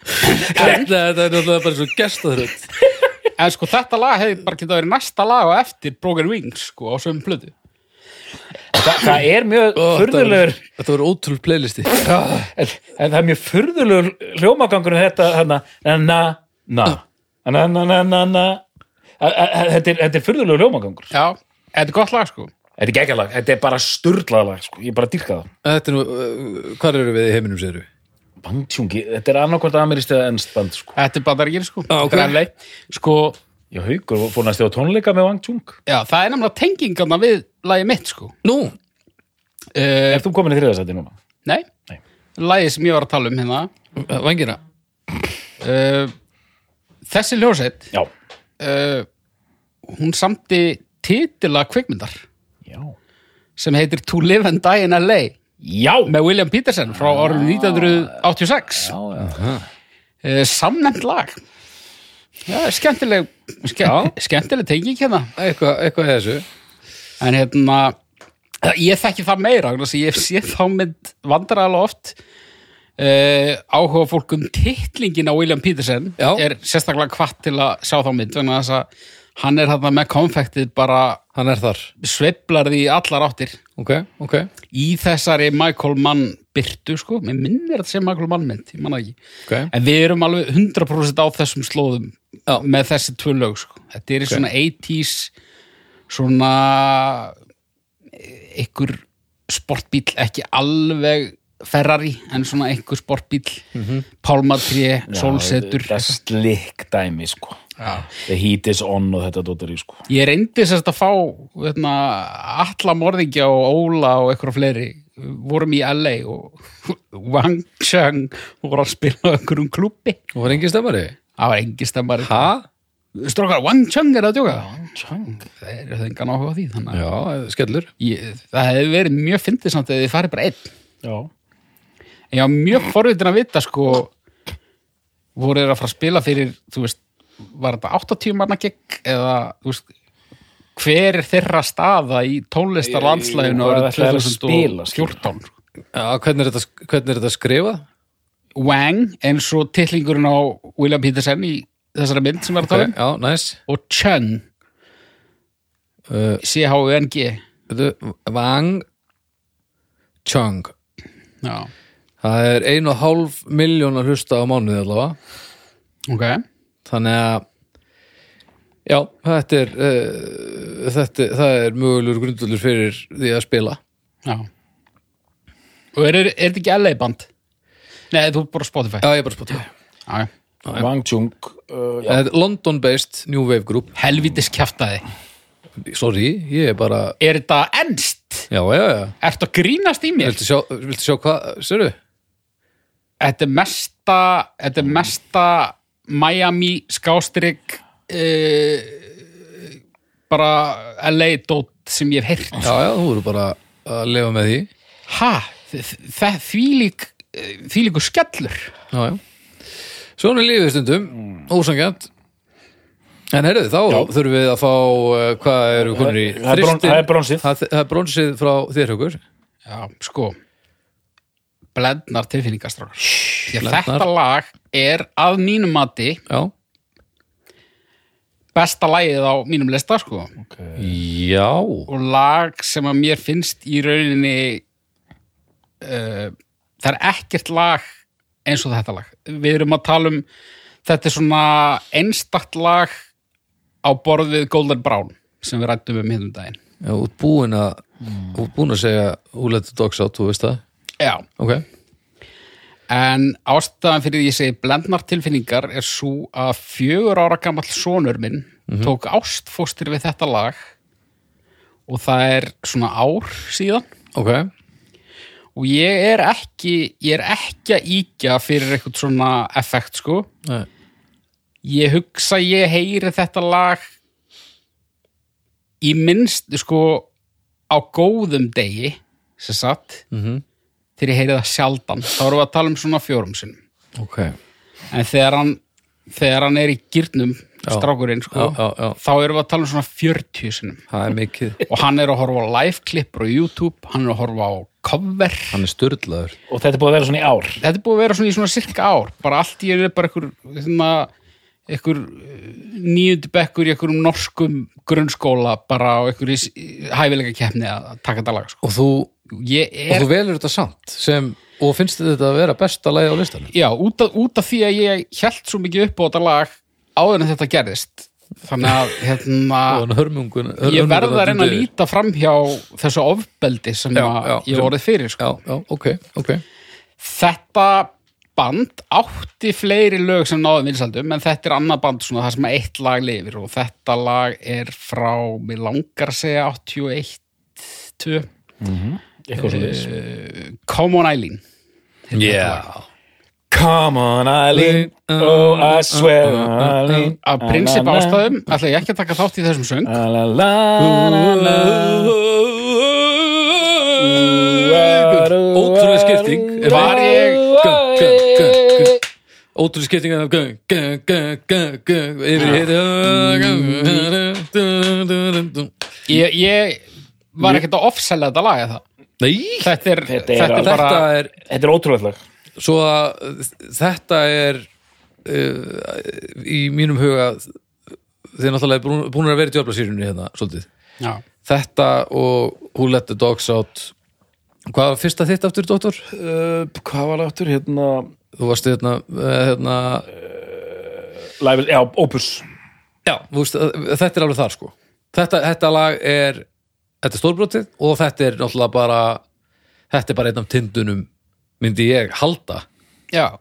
Þetta þetta er náttúrulega bara svo gestaðrönd
en sko þetta lag hefði bara getað verið næsta lag og eftir Broken Wings, sko, á sögum plötu.
Þa, Það er mjög furðulegur
Þetta voru ótrúl playlisti
en, en það er mjög furðulegur hljómagangur um þetta hana, na na na na na na na na Æ, æ, æ, Þetta er, þetta er furðulegur hljómagangur
Já, þetta er gott lag, sko.
Þetta er geggjalag, þetta er bara sturlaðalag sko. Ég bara dýrka það
Þetta er nú, uh, hvar eru við í heiminum séru?
Bandtjungi, þetta er annarkvort amirist eða ennst band sko.
Þetta er bandaríkir, sko.
Já, ok.
Þetta er LA. Sko,
Já, haukur, fór næstu á tónleika með Wang Tjung
já, það er nefnilega tengingarna við lagið mitt, sko.
Nú,
Uh,
Er þú komin í þriðasæti núna?
nei,
Nei.
lagið sem ég var að tala um hérna.
uh, vangina
Uh, þessi ljósett,
Já,
uh, hún samti titila kvikmyndar
já
sem heitir To Live and Die in LA
Já,
með William Peterson frá orðum 1986 já, já. samnefnd Eh, lag já, skemmtileg ske, skemmtileg tenging hérna
Eitthvað eitthva er þessu
en hérna ég þekki það meira vegna þess að ég sé þá mynd vandræðalega oft Uh, áhuga fólk um titlingin á William Peterson
Já.
er sérstaklega hvatt til að sjá þá mynd vegna þess að hann er þarna með konfektið bara
Hann er þar
sveiflar því í allar áttir
Ok, ok
í þessari Michael Mann byrtu sko, mér minnir þetta sem Michael Mann mynd, ég manna ekki
Ok.
en við erum alveg 100% á þessum slóðum
Já.
með þessi tvö lög sko. þetta er svona 80s svona e, einhver sportbíl ekki alveg Ferrari en svona einhver sportbíl mm -hmm. pálmatri, sólsetur
Það er slikk dæmi sko
Já.
The heat is on og þetta dóttir í sko
Ég reyndi sérst að fá veitna, alla morðingja og Óla og eitthvað fleiri vorum í LA og Wang Chang voru að spila á einhverjum klubbi
Og var engin stemmari
það var engi stemmari
Ha?
Strókar, Wang Chang er að djóka Wang Chang, það er það engan áhuga á því þannig að
Já, skellur
ég, það hefði verið mjög fyndið samt eða þið farið bara einn
Já
en ég var mjög forvitin að vita sko voru þeir að fara að spila fyrir þú veist, var þetta 80 manna gegn eða þú veist hver er þeirra staða í tónlistarlandslæðinu
Hvað
árið
ætla þeir að spila,
2014
Já, hvernig er þetta, hvernig er þetta skrifað?
Wang eins og tillingurinn á William Peterson í þessari mynd sem við erum að
Ok,
tala
já,
um
næs
og Chung
Uh,
C-H-U-N-G
Veitu, Wang Chung
Já,
Það er ein og hálf miljón að hlusta á mánuði allavega
ok
þannig að já, þetta er uh, þetta, það er mögulegur grundvöldur fyrir því að spila
Já Og er, er, er þetta ekki LA band? Nei, þú er bara Spotify
já, ég er bara spott
Já, já.
Wang Chung uh, já.
London based New Wave Group
Helvítis kjaftaði
sorry, ég er bara
Er þetta ennst?
já, já, já,
Ertu að grínast í mér?
viltu sjá, viltu sjá hvað sérðu?
Þetta er mesta, þetta er mesta Miami skástrík uh, bara LA dót sem ég hef heyrt.
já, já, þú eru bara að lifa með því já,
Ha, það því lík því líku eh, skellur
já svona er lífið stundum,
Mm.
ósangjant en herðu, þá þurfum við að fá uh, hvað eru konur í
Það er brón-
Þristin-
það er bronsið.
það það er bronsið frá þér hugur
Já, sko blendnar tilfinningastrákar Því að
Blendnar.
þetta lag er að mínum mati
já,
besta lagið á mínum lista sko
já
og lag sem að mér finnst í rauninni uh, það er ekkert lag eins og þetta lag við erum að tala um þetta er svona einstakt lag á borð við Golden Brown sem við rættum um hérna um daginn
Já, út búin að Þú er búin að segja Who let the dogs out, þú veist það
Já,
Ok,
en ástæðan fyrir því ég segi blendnar tilfinningar er svo að fjögur ára gamall sonur minn tók ástfóstir við þetta lag og það er svona ár síðan
ok
og ég er ekki, ég er ekki að íkja fyrir eitthvað svona effekt sko.
Nei.
ég hugsa ég heyri þetta lag í minnst sko á góðum degi sem sagt
Mhm.
þegar ég heyri það sjaldan þá erum við að tala um svona fjórum sinnum
Ok,
en þegar hann, þegar hann er í gyrnum strákurinn sko
Já, já, já.
þá erum við að tala um svona 40 sinnum
það er mikið
og hann er að horfa á live klippur á YouTube hann er að horfa á cover
Hann er styrlaður
og þetta er búið að vera svona í ár
þetta er búið að vera svona í svona cirka ár bara allt í einu er bara einhver svona, einhver nýjöndu bekkur í einhverjum norskum grunnskóla bara á einhverju hæfilega keppni að taka þetta lag sko.
Og þú,
ég
og
er,
þú velur þetta samt sem, og finnst þetta að vera besta lagi á listanum
já, út af, út af því að ég held svo mikið upp á þetta lag áður en þetta gerðist þannig að hérna,
Og hann hörmungun
ég verða að reyna að líta fram hjá þessu ofbeldi sem
Já,
að
já,
ég
sem-
hef orðið fyrir sko.
Já, já, ok, ok
þetta band átti fleiri lög sem náðu vinsaldum en þetta er annað band svona það sem eitt lag lifir og þetta lag er frá, mér langar að segja 81 2,
eitthvað svona
Come on Eileen
Yeah
Come on Eileen, oh I swear Eileen
af prinsip
Na, na, na.
ástæðum ætla ég ekki að taka þátt í þessum söng
La, la, la, la, la.
Ótrúlega skipting
Var ég-
Ótrúlega skipting af göng, göng, göng, göng, göng, Yfir í hitt
ég, ég var ekkert að offsella þetta lag eða.
Nei
þetta er,
Þetta er alveg-
bara
Þetta er
Þetta er ótrúlega lag
Svo að þetta er uh, Í mínum huga Þið náttúrulega búin, búin að vera í djöflasýrunni hérna Svolítið
já,
Þetta og Who Let the Dogs Out Hvað var fyrsta þitt aftur, dóttor?
Uh, Hvað var það aftur hérna
Þú varst hérna, eh, hérna
Live, Já, Opus
Já, þú veist, eh, þetta er alveg þar sko Þetta, þetta lag er Þetta er stórbrotið og þetta er náttúrulega bara Þetta er bara einn af tindunum myndi ég halda
já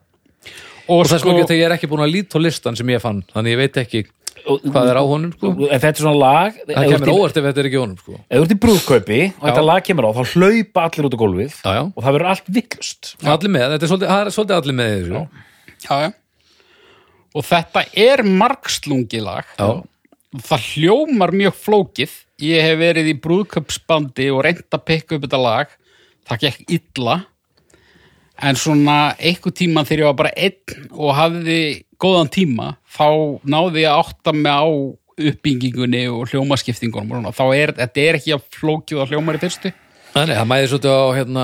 og það er sko ekki að ég er ekki búin að líta á listan sem ég fann, þannig ég veit ekki hvað er á honum sko
En þetta er svona lag ef
Það
þú ert
kemur
í-
óvart ef þetta er ekki honum sko
Ef þú ert í brúðkaupi og þetta lag kemur á þá hlaupa allir út á gólfið
Já, já.
og það verður allt viklust
Allir með, þetta er svolítið, það er svolítið allir með sko. í þessu
já, já. og þetta er margslungilag
Já.
það hljómar mjög flókið ég hef verið í brúðköpsbandi og reynd að pikka upp þetta lag það gekk illa en svona einhver tíma þegar ég var bara einn og hafði góðan tíma þá náði ég að átta mig á uppbyggingunni og hljómaskiptingunum og svona. þá er þetta er ekki að flókið að hljómar í fyrstu
Þannig, það mæði svolítið á hérna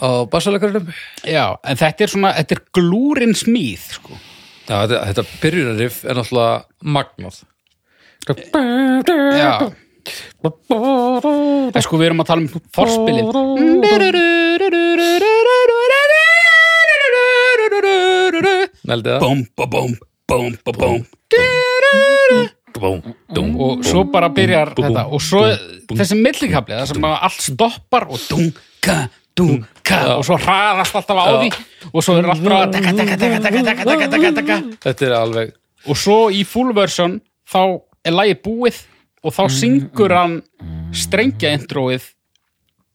á bassalekarunum
Já, en þetta er svona, þetta er glúrin smíð sko.
Já, þetta, þetta byrjunarriff er náttúrulega magnað
Já En sko við erum að tala um forspilin
Nældi það?
Bum, ba, bum, bum, ba, bum
Bum, dum,
Og svo bara byrjar þetta Og svo þessi millikafli Það sem að allt stoppar og dunga, dunga Og svo hraðast alltaf á því Og svo er allt bara taka, taka, taka, taka, taka, taka, taka, taka
Þetta er alveg
og svo í full version þá er lagi búið og þá syngur hann strengja introið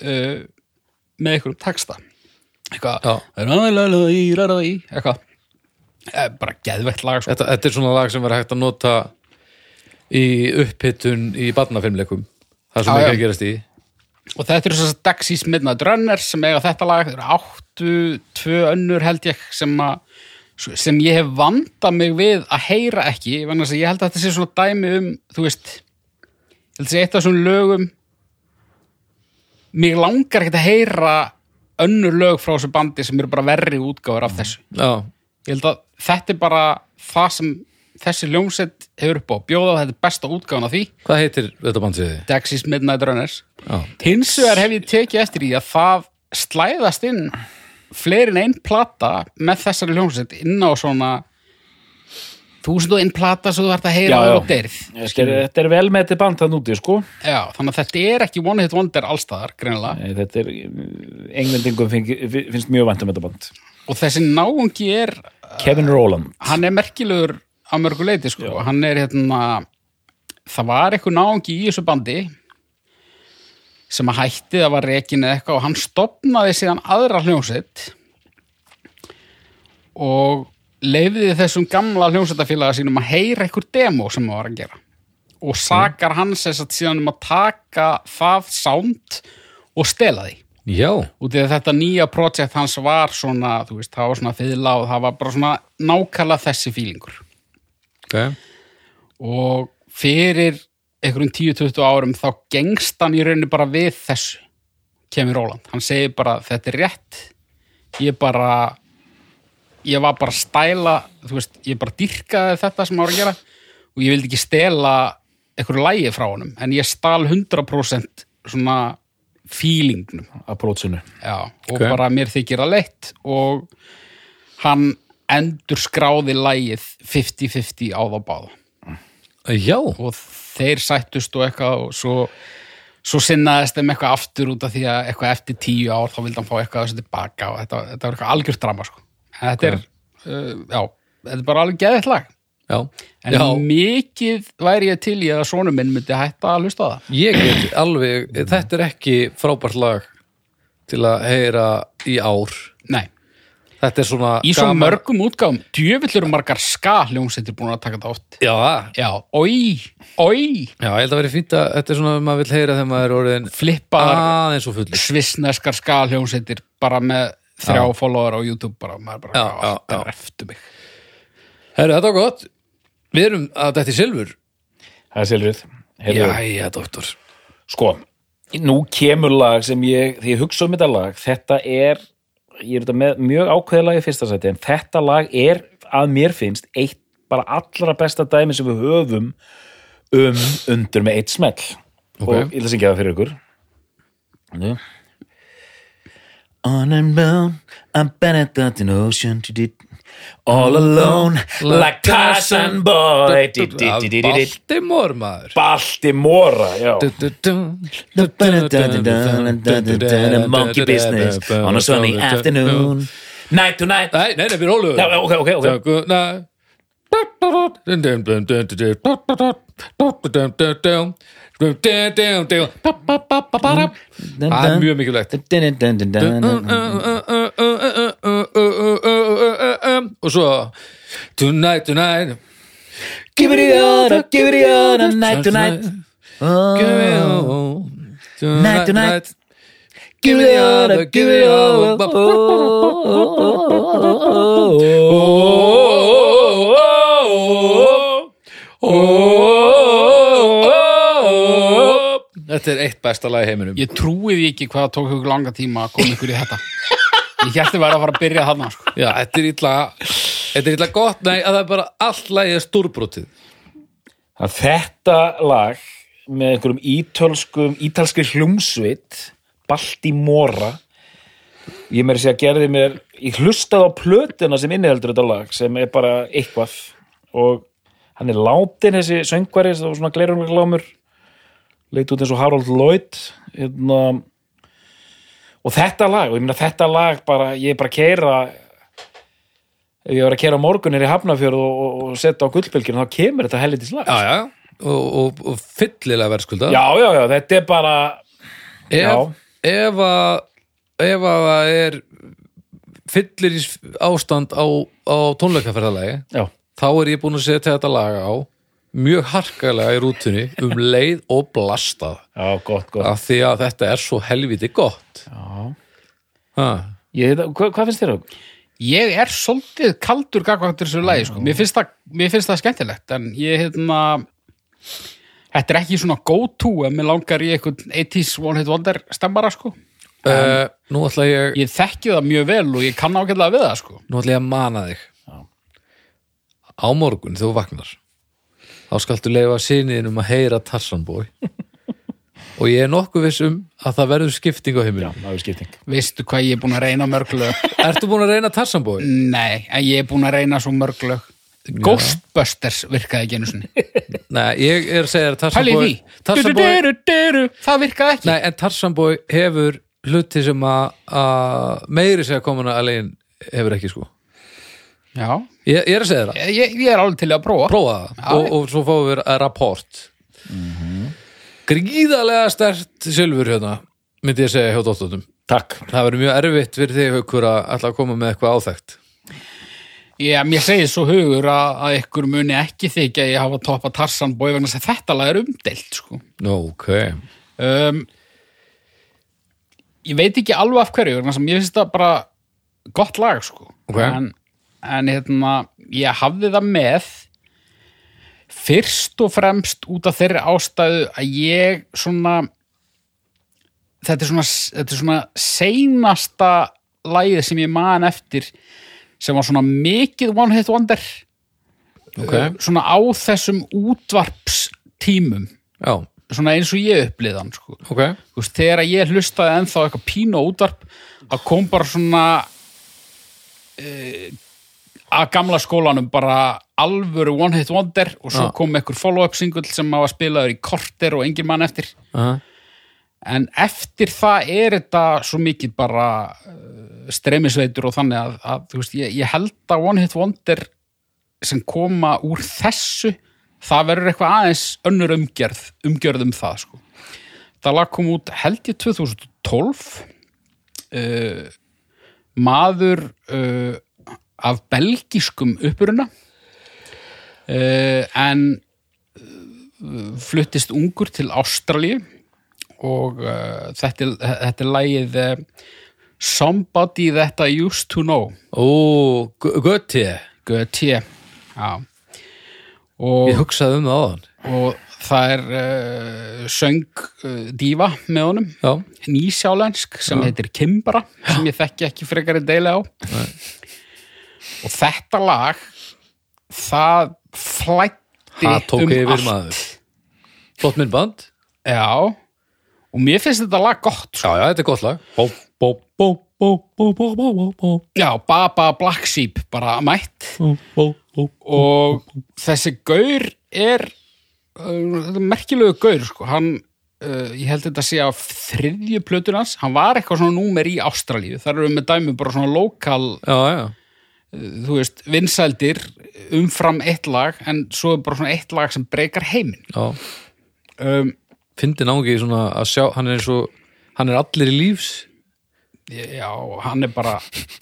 uh, með einhverjum texta eitthvað
Já.
Ra-la-la-í, ra-la-í, eitthvað Eh, bara geðveitt lag sko.
þetta, þetta er svona lag sem verður hægt að nota í upphittun í barnafimleikum Það er
Já,
svona ekki
Ah, já.
að gerast í
og þetta eru svo þess að Dexys Midnight Runners sem eiga þetta lag, þetta eru áttu tvö önnur held ég sem að sem ég hef vanda mig við að heyra ekki, vegna þess að ég held að þetta sé svona dæmi um, þú veist ég held að sé eitt af svona lögum mig langar ekkert að heyra önnur lög frá þessu bandi sem eru bara verri útgáfur af þessu
Já,
ég held að þetta er bara það sem þessi ljómsett hefur upp á að bjóða og þetta er besta útgáfan af því
hvað heitir þetta bandsiði?
Dexys Midnight Runners
Já,
Hins vegar hef ég tekið eftir í að það slæðast inn fleiri en einn plata með þessari hljómsveit inn á svona þúsund og einn plata svo þú ert að heyra
Já,
já,
já.
og deyrð
Ég skil, þetta er vel með þetta band þann úti sko
já, þannig að þetta er ekki One Hit Wonder allstaðar greinilega
Nei, þetta er eh, englendingum fengi- finnst mjög vænt um þetta band
og þessi náungi er
Kevin Rowland
hann er merkilegur á mörgu leiti sko. hann er hérna það var eitthvað náungi í þessu bandi sem að hætti það var rekin eða eitthvað og hann stopnaði síðan aðra hljómsveit og leifiði þessum gamla hljómsveitafélaga sínum að heyra eitthvað demo sem hann var að gera og sakar mm. hans þess að síðan um að taka það sound og stela því
Já,
út í að þetta nýja projekt hans var svona, þú veist, það var svona fyðla og það var bara svona nákala þessi fílingur
ok
og fyrir einhverjum 10-20 árum þá gengst hann í rauninni bara við þessu kemur Róland, hann segir bara þetta er rétt ég bara ég var bara að stæla þú veist, ég bara dýrkaði þetta sem hann var að gera og ég vildi ekki stela einhverju lægi frá honum, en ég stal 100% svona fílingnum
approachinu
Já, og
Ok.
bara mér þykir það leitt og hann endur skráði lægið 50-50 á þá báða
Já,
og þeir sættust og eitthvað og svo, svo sinnaðist þeim eitthvað aftur út af því að eitthvað eftir tíu ár þá vildi hann fá eitthvað þessu tilbaka og þetta, þetta var eitthvað algjört drama sko. en þetta er, uh, já, þetta er bara alveg geðið lag
já,
en
já
mikið væri ég til í að sonum minn myndi hætta að hlusta á það
Ég get alveg, þetta er ekki frábært lag til að heyra í ár
Nei,
Þetta er svona
í svo
gaman-
mörgum útgáfum djöfullur margar ska hljómsveitir búin að taka þetta oft
Já, það.
Já, oi, oi
já, ég held að vera fínt að þetta er svona að maður vill heyra þegar maður er orðin
flippaðar
aðeins og fullur
svissneskar skalhjómsveitir bara með þrjá follower á YouTube bara, maður bara,
Já, já, já.
reftu mig
Herru, þetta var gott Við erum að þetta er silfur
Það er selrið
Jæja, doktor
Sko, nú kemur lag sem ég, því ég hugsa um þetta lag þetta er, ég er þetta með mjög ákveðið lag í fyrsta sæti, en þetta lag er að mér finnst eitt bara allra besta dæmi sem við höfum um undur með eitt smell og ég ætla að syngja það fyrir ykkur Þannig On and on, I'm better than an ocean did it. All alone, like Tarzan boy did, did, did, did, did, did.
Baltimore, maður
Baltimora, já
Monkey
Monkey business on a sunny afternoon Night to night
Nei, nei, nei, við róluðum
Já, ok, ok, ok
Það er mjög mikilvægt Og svo Tonight, tonight
Give it your, give it your Night to night
Tonight,
tonight.
Give it your, give it your Þetta er eitt besta lag í heiminum
Ég trúi því ekki hvað það tók ykkur langa tíma að koma ykkur í þetta Ég held að vera að fara að byrja þarna sko.
Já, þetta er illa Þetta er illa gott, nei, að það er bara allt lagið er stúrbrotið
að þetta lag með einhverjum ítölskum ítalski hljómsveit Baltimora ég meiri sér að gerði mér ég hlustaði á plötuna sem inniheldur þetta lag sem er bara eitthvað og hann er látin þessi söngvari það var svona glerunglámur leit út eins og Harold Lloyd hérna og þetta lag, og ég meina þetta lag bara, ég er bara að keira ef ég var að keira morgunir í Hafnafjörð og, og, og setja á gullbylgjur þá kemur þetta hellitis lag
Já, já, og, og, og fyllilega verðskulda
já, já, já, þetta er bara já.
ef, ef að ef að það er fyllir í ástand á, á tónleikaferðalagi
já,
þá er ég búin að setja þetta lag á mjög harkalega í rútunni um leið og blastað
já, gott, gott
af því að þetta er svo helviti gott ha,
ég, hva, hvað finnst þér um? það?
Ég er svolítið kaldur gagvæntur þessu lagi sko. mér, finnst það, mér finnst það skemmtilegt en ég hérna Þetta er ekki svona go to en mér langar í eitthvað 80s One Hit Wonder stemmara sko.
uh, nú ætla ég
Ég þekki það mjög vel og ég kann ágætlega við það sko.
nú ætla ég að mana þig á morgun þegar þú vagnar þá skaltu leifa síniðinum að heyra Tarsanbói og ég er nokkuð viss um að það verður skipting á heimilum
já, það er skipting
Veistu hvað ég er búin að reyna mörglu
Ertu búin að reyna Tarsanbói?
Nei, en ég er búin að reyna svo mörg lög Ghostbusters virkaði ekki einu sinni
Nei, ég er að segja að Tarzan
Pæli í
Boy
því
Tarzan
Dudu,
Boy
dudu, dudu, Það virkaði ekki
Nei, en Tarzan Boy hefur hluti sem að- að meiri segja komin að legin hefur ekki sko
Já,
Ég, ég er að segja það,
ég, ég er alveg til að prófa
prófa það og, og svo fáum við að rapport Gríðarlega stert silfur hérna myndi ég segja hjá dóttunum
Takk
Það verður mjög erfitt fyrir þig haukur að ætla að koma með eitthvað áþægt
Já, mér segir svo hugur að, að ykkur muni ekki þykja að ég hafa toppa Tarsan bói vegna þess að þetta lag er umdelt sko.
Nú, ok
um, Ég veit ekki alveg af hverju vegna sem ég finnst það bara gott lag sko.
Ok.
en, en hérna, ég hafði það með fyrst og fremst út af þeirri ástæðu að ég svona þetta er svona, þetta er svona seinasta lagið sem ég man eftir sem var svona mikið One Hit Wonder
okay.
svona á þessum útvarpstímum
Já,
svona eins og ég upplið hann sko.
ok
Þú veist, þegar ég hlustaði ennþá eitthvað pínu á útvarp að kom bara svona e, að gamla skólanum bara alvöru one hit wonder og svo
Já.
kom einhver follow-up single sem maður spilaður í korter og engin mann eftir
Aha.
en eftir það er þetta svo mikið bara eh, streymisveitur og þannig að, að þú veist, ég, ég held að One Hit Wonder sem koma úr þessu það verður eitthvað aðeins önnur umgjörð, umgjörð um það sko. það lag kom út held ég 2012 uh, maður uh, af belgískum uppruna uh, en uh, fluttist ungur til Ástralíu og uh, þetta, er- þetta er lagið uh, Somebody That I Used To Know
Ó, Götti
Göti Já
Ég
og,
hugsaði um það áðan
og það er uh, söng uh, Díva með honum
Já,
nýsjálensk sem heitir Kimbra sem ég þekki ekki frekar en deila á og þetta lag það flætti
það tók
um
yfir
allt
maður Flott myndband
Já, og mér finnst þetta lag gott sko.
Já, já, þetta er gott lag bó, bó, bó, bó, bó, bó, bó, bó, bó,
Já, Baba Black Sheep bara mætt
bó, bó, bó.
og þessi gaur er uh, merkilegu gaur sko. hann, uh, ég held þetta að sé af þriðju plötun hans, hann var eitthvað svona númer í Ástralíu, þar eru við með dæmi bara svona lokal,
Já, já,
þú veist, vinsældir umfram eitt lag, en svo er bara svona eitt lag sem breykar heiminn
já
um,
Fyndi náungi svona að sjá Hann er eins og, hann er allir í lífs
já, hann er bara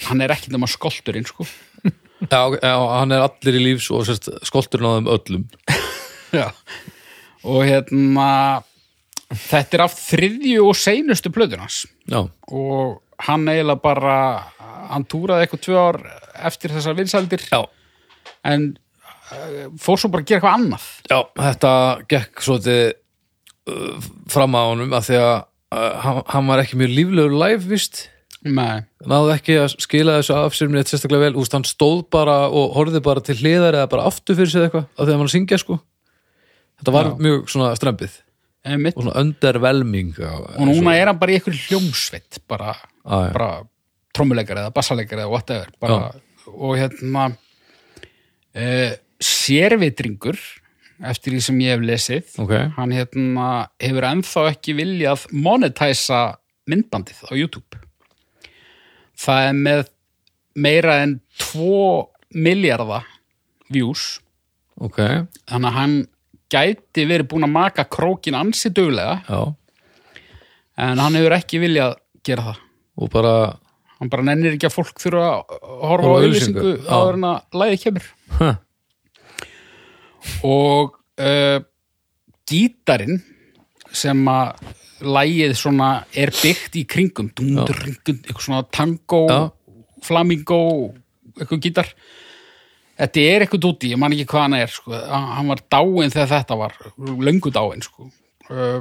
hann er ekki nema skolturinn sko.
Já, ok, já hann er allir í lífs og sérst, skolturinn á þeim öllum
já og hérna þetta er af þriðju og seinustu plötun hans
Já,
og hann eiginlega bara hann túraði eitthvað tvö ár eftir þessar vinsaldir
já,
en uh, fór svo bara að gera eitthvað annað
já Þetta gekk svolítið uh, fram að honum að því að uh, hann, hann var ekki mjög líflegur live, víst
Nei.
náði ekki að skila þessu af sér mér sérstaklega vel, úst, hann stóð bara og horfði bara til hliðar eða bara aftur fyrir sér eitthvað af því að hann var að syngja sko þetta var mjög svona strempið
einmitt.
og svona undervelming
og núna er hann bara í eitthvað hljómsveit bara,
Á, Ah, já.
bara trommuleikari eða bassaleikari eða whatever bara, og hérna uh, sérvitringur eftir því sem ég hef lesið
Ok.
hann hérna hefur ennþá ekki viljað monetæsa myndbandið á YouTube það er með meira en 2 miljardar views
ok, já,
þannig að hann gæti verið búin að maka krókin ansi duglega en hann hefur ekki viljað gera það
og bara
hann bara nennir ekki að fólk þurfa að horfa á
Horfa á
auðlýsingu
auglýsingu, já.
áður en að læði kemur
ha,
og uh, gítarin sem að lægið svona er byggt í kringum dundur, ringdun, eitthvað svona tango
Já.
flamingo eitthvað gítar þetta er eitthvað dúti, ég man ekki hvað hann er sko. Hann- hann var dáinn þegar þetta var löngu dáinn sko. uh,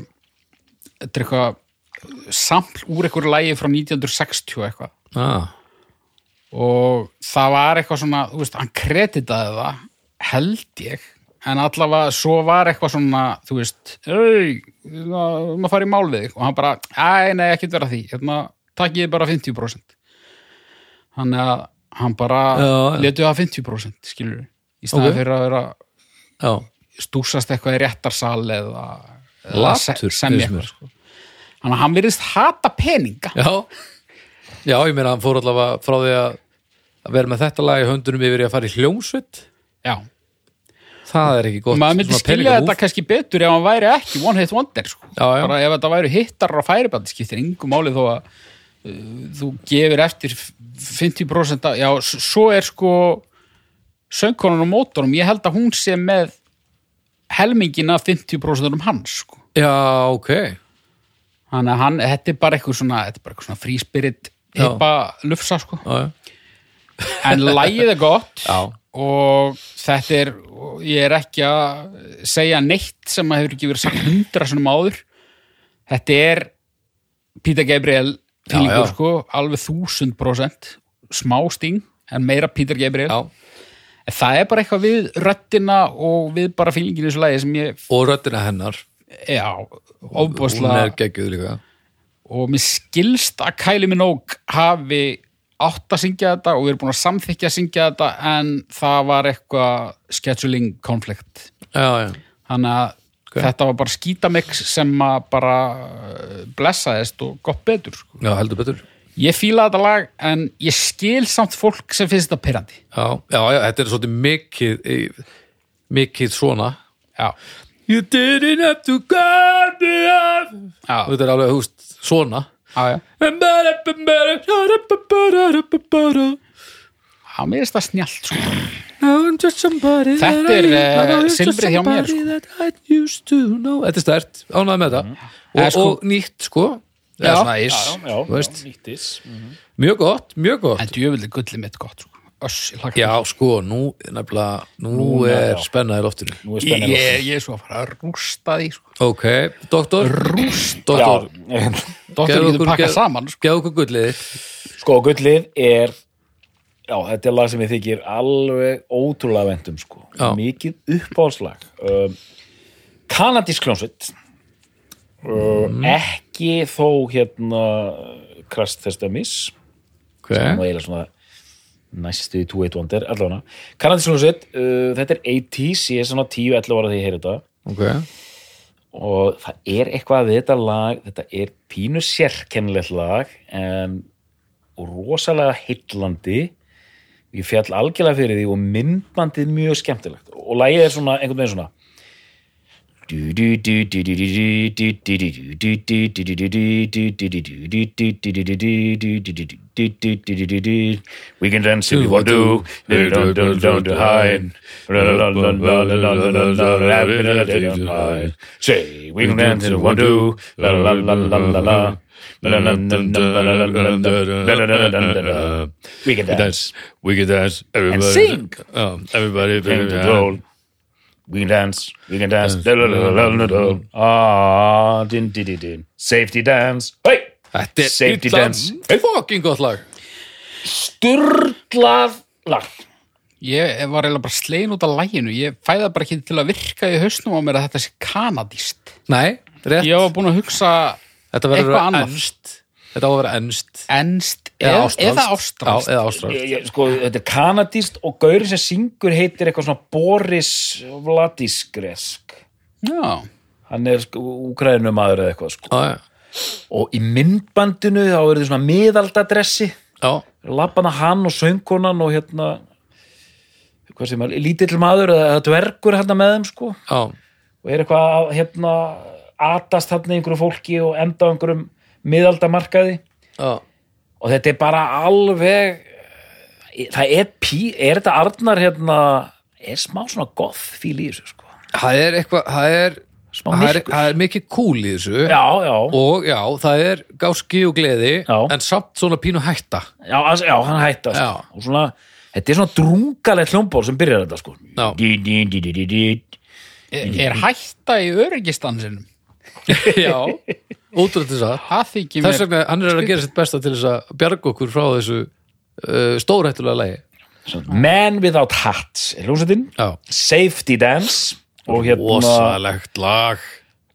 þetta er eitthvað sampl úr eitthvað lægi frá 1960 eitthvað
ha,
og það var eitthvað svona, þú veist, hann kreditaði það, held ég en allavega svo var eitthvað svona þú veist, ei maður fara í mál við þig og hann bara ei, nei, ekkert vera að því, hérna takk ég bara 50% þannig að hann bara
Já, já.
letu það 50% skilur við í staði
Ok.
fyrir að vera
já,
stúsast eitthvað í réttarsal eða, eða
latur
se- semja
finnst mér.
eitthvað sko. Þannig að hann virðist hata peninga
já, já, ég meina hann fór allavega frá því að að vera með þetta lag í höndunum yfir í að fara í hljómsveit
Já,
það er ekki
og
gott
maður myndi
svona
skilja
peningamúf.
þetta kannski betur ef hann væri ekki one hit wonder sko.
Já, já.
bara ef þetta væri hittarar á færibandi skiptir yngu máli þó að uh, þú gefur eftir f- 50% af, já, s- svo er sko söngkonan á mótorum ég held að hún sé með helmingina 50% um hans sko.
já, ok,
þannig að hann, þetta er bara eitthvað svona, þetta er bara eitthvað svona free spirit
Já.
hippa lufsa sko
já, já
en lægið er gott
Já.
og þetta er og ég er ekki að segja neitt sem að hefur ekki verið sagt hundra svona máður þetta er Peter Gabriel
Já,
fílingur
já.
sko, alveg þúsund prosent smá sting, en meira Peter Gabriel
Já.
en það er bara eitthvað við röddina og við bara fílinginu þessu lægi sem ég,
og röddina hennar,
já,
hún
ofbúðslega
er geggjuð líka
og mér skilst að Kylie Minogue hafi átt að syngja þetta og við erum búin að samþykja að syngja þetta en það var eitthvað scheduling konflikt
já, já,
þannig að þetta var bara skítamix sem að bara eh, blessaðist og gott betur sko.
já, heldur betur
ég fíla þetta lag en ég skil samt fólk sem finnst þetta pyrrandi
já, já, já, þetta er svolítið mikið í- mikið svona
já,
You didn't have to cut me off
Já.
Þetta er alveg, húst, svona
já, já,
Now
já mér finnst það snjallt sko.
I'm just somebody
Þetta
that
er,
I-
eh,
Now I'm just
silfrið hjá mér, sko.
somebody that I used to know. Þetta er stært, ánægð með þetta
Eh,
og,
sko-
og nýtt sko Eða svona is.
já,
Þú veist.
já, nýttis
Mjög gott, mjög gott
en djöfulli gullið mitt gott sko. Öss, ég, hlakka
Já, sko, nú, nefnilega, nú,
Núna,
er
já.
spennaði loftinu
Nú er
til. ég,
spennið
ég, ég er svo að fara að rústa því sko.
Ok, doktor Rúst Doktor,
Já,
Geðu
Dóttir getur
okkur-
pakkað
geðu-
saman sko.
gefðu okkur gullið
sko, gullið er já, þetta er lag sem ég þykir alveg ótrúlega vendum, sko
Já.
mikið uppáhalslag um, kanadísk hljónsveit um, ekki þó hérna krast þess að miss sem
Ok,
var eiginlega svona næstu í 2-1 Wonder, allavega kanadísk hljónsveit, uh, þetta er 80s ég er svona 10-11 ára þegar ég heyri þetta
ok
og það er eitthvað við þetta lag þetta er pínu sérkennilegt lag en og rosalega heillandi ég fjall algjörlega fyrir því og myndbandið mjög skemmtilegt og lagið er svona einhvern veginn svona We can dance if we want to We don't don't don't hide Say we can dance if we want to La la la la la la We can dance
we can dance, everybody.
sing.
Um, everybody,
Can we roll? We can dance. We can dance. Da, da, da, da, da, da. Ah, din, din, din, din. Safety dance. Hey!
Þetta er
Safety
illa
dance.
Fucking gott lag
Sturlað lag.
Ég var eiginlega bara slegin út af læginu. Ég fæða bara ekki til að virka í hausnum á mér að þetta sé kanadíst.
Nei, rétt
Ég var búin að hugsa
Þetta verður
eitthvað
að
annað.
ennst Þetta á að vera ennst
ennst
Eða
eða,
ástralskt.
eða ástralst.
Já, eða ástralst
Ég, ég, sko, þetta er kanadíst og gaurin sem syngur heitir eitthvað svona Boris Vladískresk.
Já,
Hann er sko, úkrænum maður eða eitthvað. Sko.
Já, já.
Og í myndbandinu þá eru þið svona miðaldadressi.
Já,
Lappana hann og söngkonan og hérna hvað sem er, lítill maður eða eða dvergur hérna með þeim sko.
já
og er eitthvað að hérna, atast þarna einhverju fólki og enda á einhverjum miðaldamarkaði
Já,
og þetta er bara alveg eh, það er pí, er þetta Arnar hérna, er smá svona goth fíl í þessu sko
það er eitthvað Það er,
Smá
það er,
myrkur.
það er mikið cool í þessu
já, já,
Og já, það er gáski og gleði
Já.
En samt svona pínu hætta
já, as- já hann hættast
Já.
og svona, þetta er svona drungalegt hljómból sem byrjar þetta sko
Já.
Dí, dí, dí, dí, dí, dí.
er er hætta í öryggistansinum.
Já, útrúlega þess að
Það þykir
Þess
mér.
vegna, hann er að gera sitt besta til þess að bjarga okkur frá þessu uh, stórhættulega lægi
Man Without Hats er hljómsveitin
Já,
Safety Dance og hérna
rosalegt lag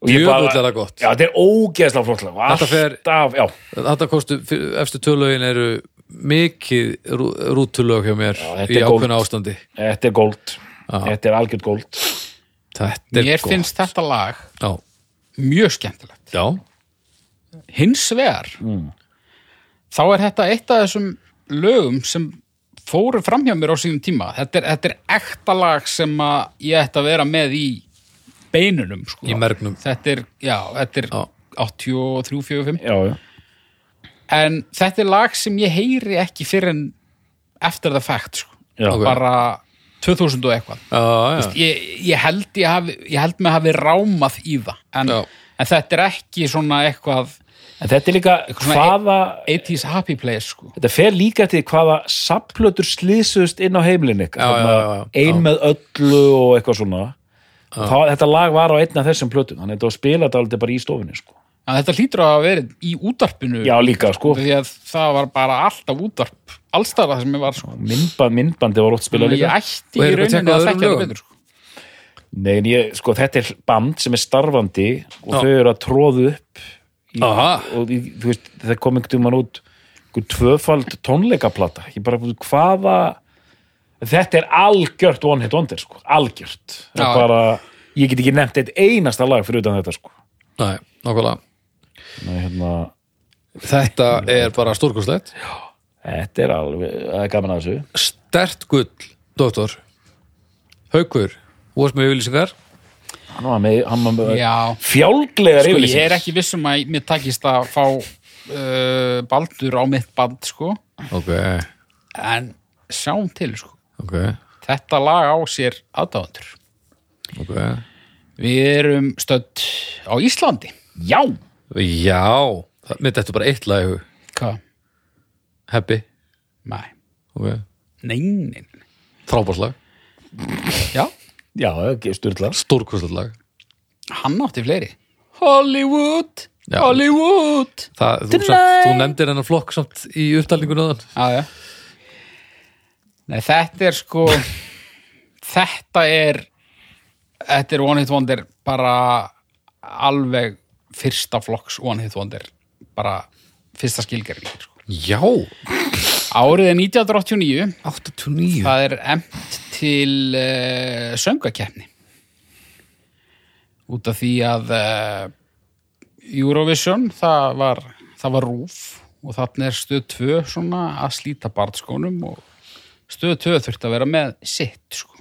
og ég bara-
Djöfull er það gott.
já, þetta er ógeðslega flott lag og
Þetta fer-
alltaf, já,
Þetta kostu, eftir tölögin eru mikið rú, rútulög hjá mér
þetta
í
er
ákveðna ástandi
þetta er gold þetta er algjörd góld
Þetta er
Mér
gott.
finnst þetta lag
Já,
mjög skemmtilegt.
já,
Hins vegar, þá er þetta eitt af þessum lögum sem fóru fram hjá mér á sínum tíma. Þetta er, þetta er ekta lag sem að ég ætti að vera með í beinunum. Sko.
Í mergnum.
Þetta er, já, þetta er
Já.
83, 45.
já, já,
En þetta er lag sem ég heyri ekki fyrir en eftir það fact, sko.
já,
Ok.
Bara 2000 og eitthvað.
já, já,
ég, ég held ég, hafi, ég held mig hafi rámað í það en,
Já.
en þetta er ekki svona eitthvað
en þetta er líka
svona
hvaða
80s happy place sko.
Þetta fer líka til hvaða saplötur slýsust inn á heimlinni
Já, já, já, já.
ein
Já.
með öllu og eitthvað svona Þá, þetta lag var á einna þessum plötum þannig að þetta var spilað aldrei bara í stofinni sko.
en þetta hlýtur að hafa verið í útarpinu
já líka sko,
því að það var bara alltaf útarp allstara það sem ég var sko.
Myndband, myndbandi var ótt spilað
Þannig að
líka
Og
ég ætti í
er eitthvað
rauninni
að
að
tekka á öðrum
þekka það
lögum?
betur sko.
Nei, en ég, sko, þetta er band sem er starfandi og
Já.
þau eru að tróðu upp í,
Aha.
og í, þú veist, það kom einhvern tímann út einhver tvöfald tónleikaplata ég bara, hvaða þetta er algjört one hit wonder sko, algjört Það
Já.
er bara, ég get ekki nefnt eitt einasta lag fyrir utan þetta sko
næ, nákvæmlega
Nei, hérna,
Þetta er bara stórkostlegt
þetta er alveg, það er gaman að þessu
Stert gull, doktor Haukur, þú varst með yfirlýsingar
hann var með, hann var með
Já.
fjálglegar
sko,
yfirlýsingar.
ég er ekki vissum að mér takist að fá uh, baldur á mitt band sko.
Ok,
en sjáum til sko.
ok,
þetta lag á sér aðdáðandur
ok
Við erum stödd á Íslandi.
já,
Já, það- mér þetta bara eitt lag í hug.
Hvað?
Happy,
Nei.
ok
Nei, nei, nei.
Frábárslag,
Já,
já, það er styrla
stórkostlegt lag
hann átti fleiri. Hollywood,
Já.
Hollywood.
Það, þú, samt, þú nefndir hennar flokk samt í upptalningun áðan
Já, já. Nei, þetta er sko, þetta er, þetta er One Hit Wonder bara alveg fyrsta flokks One Hit Wonder, bara fyrsta skilgerning. Sko.
Já,
Árið er 1989,
89
það er emt til uh, söngakeppni út af því að uh, Eurovision það var, það var rúf og þannig er stöð 2 svona að slíta barnskónum og stöð 2 þurfti að vera með sitt sko.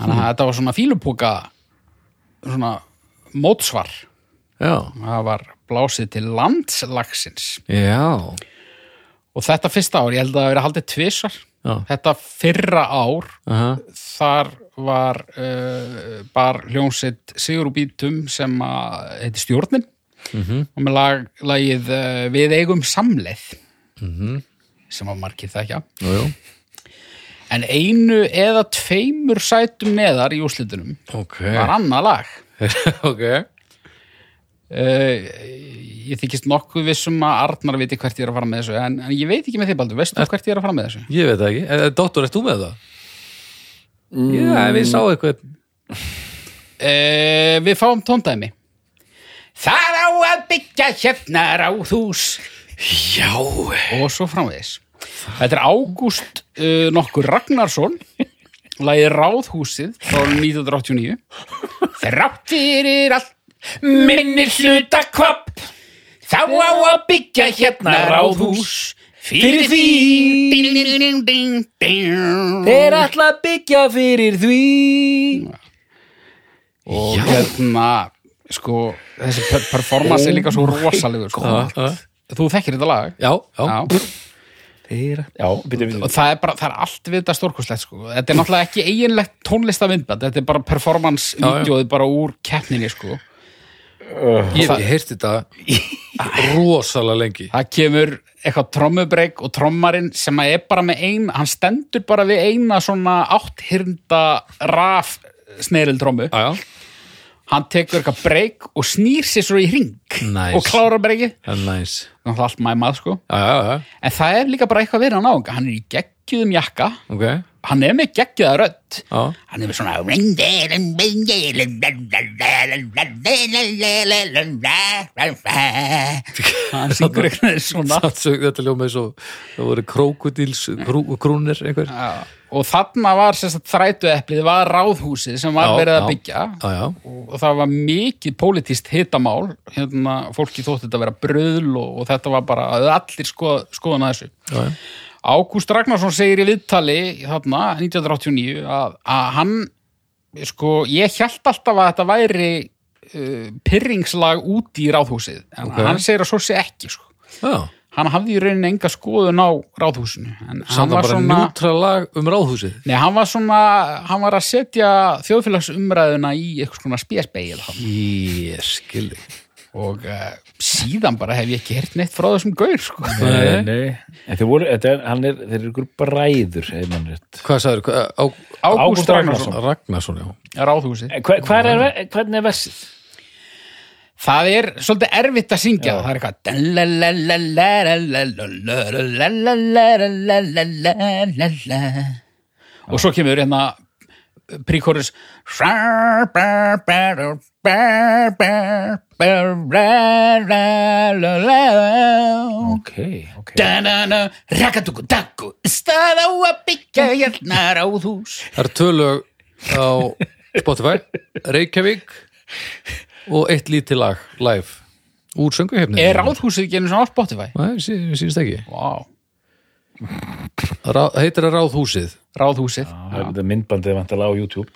þannig að þetta var svona fílupúka svona mótsvar
Já,
það var blásið til landslagsins
já,
og þetta fyrsta ár, ég held að það hafi verið haldið tvisar
Já.
þetta fyrra ár
aha,
þar var uh, bar hljómsitt Sigur og Bítum sem að heiti Stjórnin og með lag, lagið uh, Við eigum samleið sem að margir það ekki
jú, jú
en einu eða tveimur sætum neðar í úrslitunum
Ok,
var annað lag
ok
uh, ég þykist nokkuð vissum að Arnar viti hvert ég er að fara með þessu en, en ég veit ekki með þið Baldur, veistu hvert ég er að fara með þessu?
Ég veit það ekki, Eh, Dóttor, ert þú með það? Já, við sá eitthvað
Uh, við fáum tóndæmi Þar á að byggja hérna ráðhús
Já,
og svo framvegis Þetta er Ágúst uh, nokkur Ragnarsson lagið Ráðhúsið frá 1989 Þrátt fyrir allt minni hluta kopp Þá á að byggja hérna ráðhús fyrir því ding, ding, ding, ding, ding.
þeir ætla að byggja fyrir því
og hérna sko, þessi per- performance er líka svo rosalegur sko. þú þekkir þetta
Oh
lag
já, já,
Já.
þeir, já, byrju, byrju
og það er bara, það er allt við þetta stórkostlegt sko. þetta er náttúrulega ekki eiginlegt tónlistavindband þetta er bara performance
já.
vídeoð bara úr keppninni sko.
ég hef heyrt þetta rosalega lengi
það kemur eitthvað trommubreik og trommarinn sem að er bara með ein hann stendur bara við eina svona átthyrnda raf sneril trommu
Já, já,
hann tekur eitthvað breik og snýr sér svo í hring
Nice.
og klára breiki
það er næs
allt mæmað sko
Já, já, já,
en það er líka bara eitthvað verið hann á hann er í geggjum jakka
ok
hann er með geggjaða rödd
Já.
hann er með svona hann syngur eitthvað svona
Satsug, þetta ljóma eins og það voru krókudíls krú, krúnir einhver já,
Já, og þarna var sérstætt þrætueplið var ráðhúsið sem var
Já,
verið að
já.
byggja
já,
og og það var mikið pólitíst hitamál hérna fólki þótti þetta vera bröðl og, og þetta var bara að allir skoð, skoðan að þessu
já, já.
Ágúst Ragnarsson segir í viðtali þarna 1989 að, að hann sko, ég hjælt alltaf að þetta væri uh, pyrringslag úti í ráðhúsið en
Ok.
hann segir að svo sé ekki sko.
já.
hann hafði í rauninni enga skoðun á ráðhúsinu en hann
samt
var
bara svona...
svona
njútra lag um ráðhúsið
Nei, hann var svona, hann var að setja þjóðfélagsumræðuna í eitthvað svona spjæsbeigil
ég skilji
og uh, síðan bara hef ég ekki hert neitt frá þessum gaur, sko.
Nei.
En þeir voru, þetta er, hann er, þeir eru ykkur bræður, hefði mann rétt.
hvað sagður, á, á,
Ágúst
Ágúst Ragnarsson.
Ragnarsson,
Ragnarsson já.
ráðhúsi.
En Hva, hvar er, ver- hvernig er versið?
Það er svolítið erfitt að syngja, það er eitthvað og svo kemur hérna príkórus
Ok, ok.
Da-na-na, rakadúku-dakku, stað á að byggja hjarnar á þús.
það eru tölög á Spotify Reykjavík og eitt lítið lag live úr sönguhefni
Er ráðhúsið ekki einu svona á Spotify?
Nei, sí, sínst ekki
Vá,
Rá, heitir það ráðhúsið
ráðhúsið.
Það er þetta myndbandið vantala á YouTube.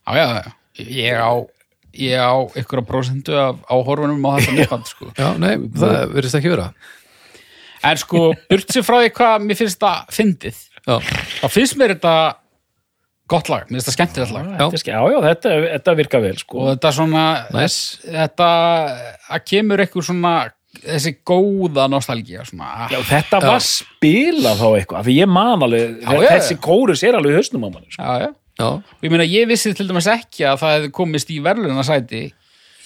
Já, já, já. Ég á, ég á ykkur á prósentu af áhorfunum á þetta nýfand, sko.
já, nei, það verðist ekki vera
En sko, burt sér frá því hvað mér finnst þetta fyndið.
já,
Þá finnst mér þetta gott lag, mér finnst þetta skemmtilegt lag.
Já.
Þetta er ske- Já, já, þetta, þetta virka vel, sko.
Og þetta svona,
Nice.
þetta, að kemur ykkur svona, þessi góða nostalgía, svona.
Já, þetta var spilað þá eitthvað, af því ég man alveg,
já, já.
þessi kórus er alveg í hausnum á manni, sko.
já,
já, já. Og ég meina, ég vissi til dæmis ekki að það hefði komist í verðlunasæti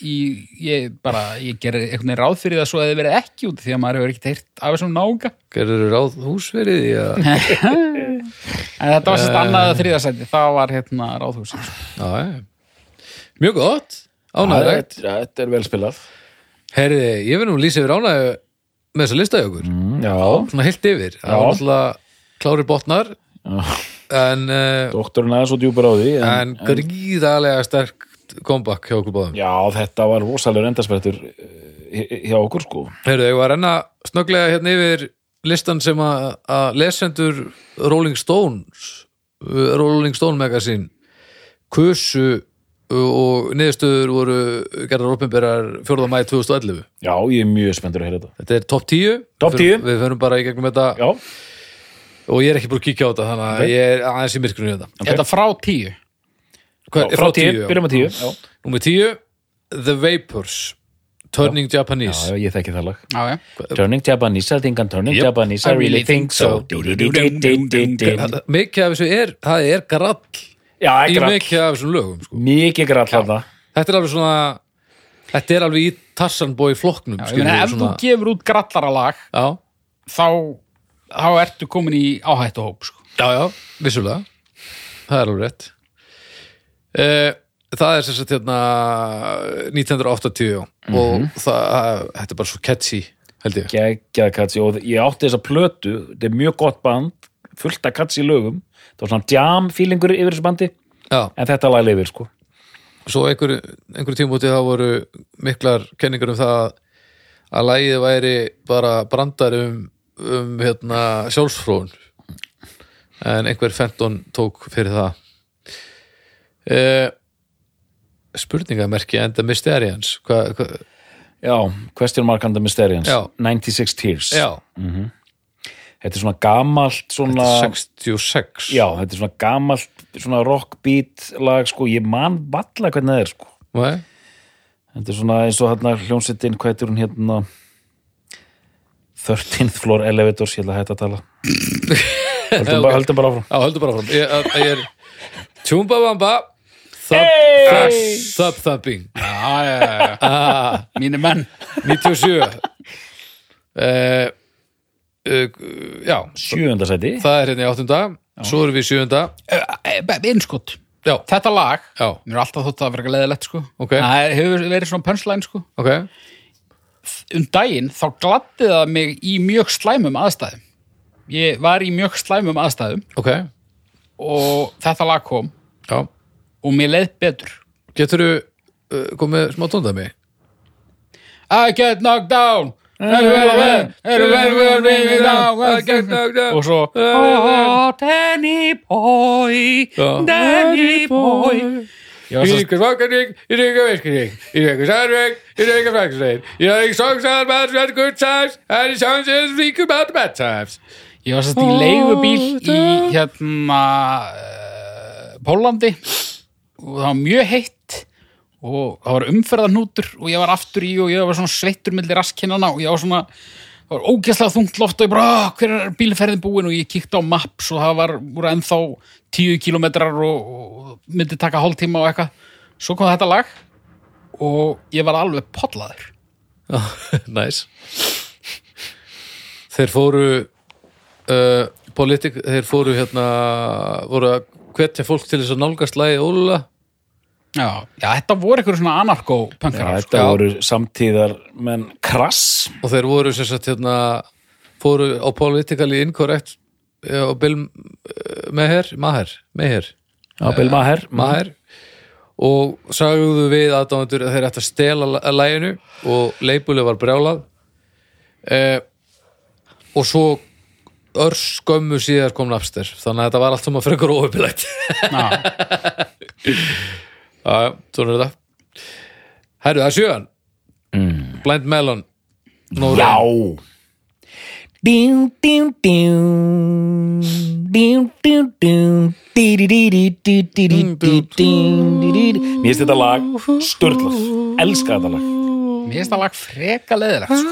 í, ég bara, ég gerði einhvern veginn ráð fyrir það svo hefði verið ekki út því að maður hefur ekkert heyrt af þessum nága.
gerður ráðhús verið því að
En þetta var sérst annað að þriðasæti, það var hérna ráðhúsins.
Já, já. Mjög gott,
Já,
ánægilegt.
Þetta þetta er vel spilað.
Herði, ég verð nú lýsa yfir ánægju með þessa lista í
Mm.
okkur.
Já,
Svona heilt yfir. Það var náttúrulega klári botnar, en, uh,
doktorinn aðeins og djúpar á því.
en gríðarlega sterkt comeback hjá okkur báðum.
Já, þetta var rosalur endarsprettur hjá okkur, sko.
Herði, ég var enna snögglega hérna yfir listan sem að að lesendur Rolling Stones, uh, Rolling Stone Magazine, kusu og niðurstöður voru gerðar opinberar 4. mæði 2011.
Já, ég er mjög spenntur að heyra þetta.
Þetta er topp 10
Topp
Við
10.
förum- Við förum bara í gegnum þetta
Já,
og ég er ekki búin að kíkja á þetta þannig að
Ok.
ég er aðeins í hérna. myrkrunni í þetta
Okay. Þetta frá tíu.
Hver,
frá tíu, byrjum á tíu. Já,
Númer 10 The Vapors Turning Japanese
já ég þekki það lag.
Já, já.
Turning Japanese, I think I'm turning
Yep.
Japanese, I really think so. Du-du-du-du-du-du-du-du.
Þetta- Mikið af þessu er, það er grall
Já,
í
ekki rætt.
mikið af þessum lögum sko.
Mikið grætt hana.
Þetta er alveg svona Þetta er alveg í Tarzanbói flokknum
Sko, Ég meina, ef þú gefur út grallaralag,
já,
þá, þá ertu komin í áhættuhóp, sko.
já, já, vissulega Það er alveg rétt Eh, Það er sem sagt hérna 1980
Mhm.
og það, þetta er bara svo catchy held ég
Gægjað katsi og ég átti þessa plötu, þetta er mjög gott band, fullt af katsi lögum. Það var svona jam feelingur yfir þessu bandi,
Já,
en þetta lag lifir, sko.
svo einhverju, einhverju tímúti þá voru miklar kenningar um það að lægið væri bara brandar um, um hérna, sjálfsfrón en einhver fenton tók fyrir það e, spurningamerki enda mysterians hva, hva,
Já, Question Mark and the Mysterians,
Já.
96 Tears.
já,
Þetta er svona gamalt, svona...
þetta er 66
Já, þetta er svona gamalt, svona rockbeat lag, sko. Ég man valla hvernig það er, sko.
Nei?
Þetta er svona eins og hérna hljómsettin, hvað heitir hún hérna 13th floor elevators, ég ætla að hætta að tala höldum, bara, höldum bara áfram
já, höldum bara fram ég, að- ég er tjúmba bamba þöpp
Hey!
þöpp þöpping
Já, já, já, já.
ah
Mínu menn.
97 uh, uh, Já,
Sjöunda sæti,
eh, það er hérna í áttunda Svo erum við í sjöunda
einskott
Já,
Eh, þetta lag,
Já.
mér er alltaf þótt að vera leðilegt sko,
Ok.
það hefur verið svona pönslæn sko,
ok
um daginn þá gladdi það mig í mjög slæmum aðstæðum ég var í mjög slæmum aðstæðum
Ok,
og þetta lag kom
já
og mér leið betur
Geturðu uh, komið smá tóndæmi?
I get knocked down I get knocked down og svo Oh, Danny boy
Já.
Danny boy Ég var
Í
svo
ríkur fokkarning, í ríkur viskarning, í ríkur særveg, í ríkur frækislein, í ríkur songsar, bad, bad, good times, and it sounds as ríkur bad, bad times.
Ég var sérst í leigubíl í hérna uh, Pólandi og það var mjög heitt og það var umferðarnútur og ég var aftur í og ég var svona sveittur milli raskinnana og ég var svona það var ógæslega þungt loft og ég bara "Ah, hver er bílferðin búin og ég kíkti á maps og það var úr ennþá tíu kilometrar og, og myndi taka hálftíma og eitthvað svo kom þetta lag og ég var alveg pollaður
Næs. Þeir fóru, uh, politik, þeir fóru hérna, voru að hvetja fólk til þess að nálgast lagi Óla.
Já, já þetta voru eitthvað svona sko.
Já,
anarko-pönkarar
þetta voru samtíðar menn krass
og þeir voru sem sagt hérna fóru á politically incorrect eh, og Bill eh, Maher Maher, Maher,
Já, Bill Maher
Maher og sagðu við aðdáðandur að þeir ættu að stela la- laginu og leipulið var brjálað eh, og svo örs skömmu síðar kom Napster þannig að þetta var allt um að frekar óöpilægt
Já.
Já, já, svona er þetta Herru, það er sjöan mm. Blind Melon no
Já
Rain.
Ding, ding, ding Ding, ding, ding Mér finnst þetta lag störtlað, elska þetta lag
Mér finnst það lag freka leðilegt sko.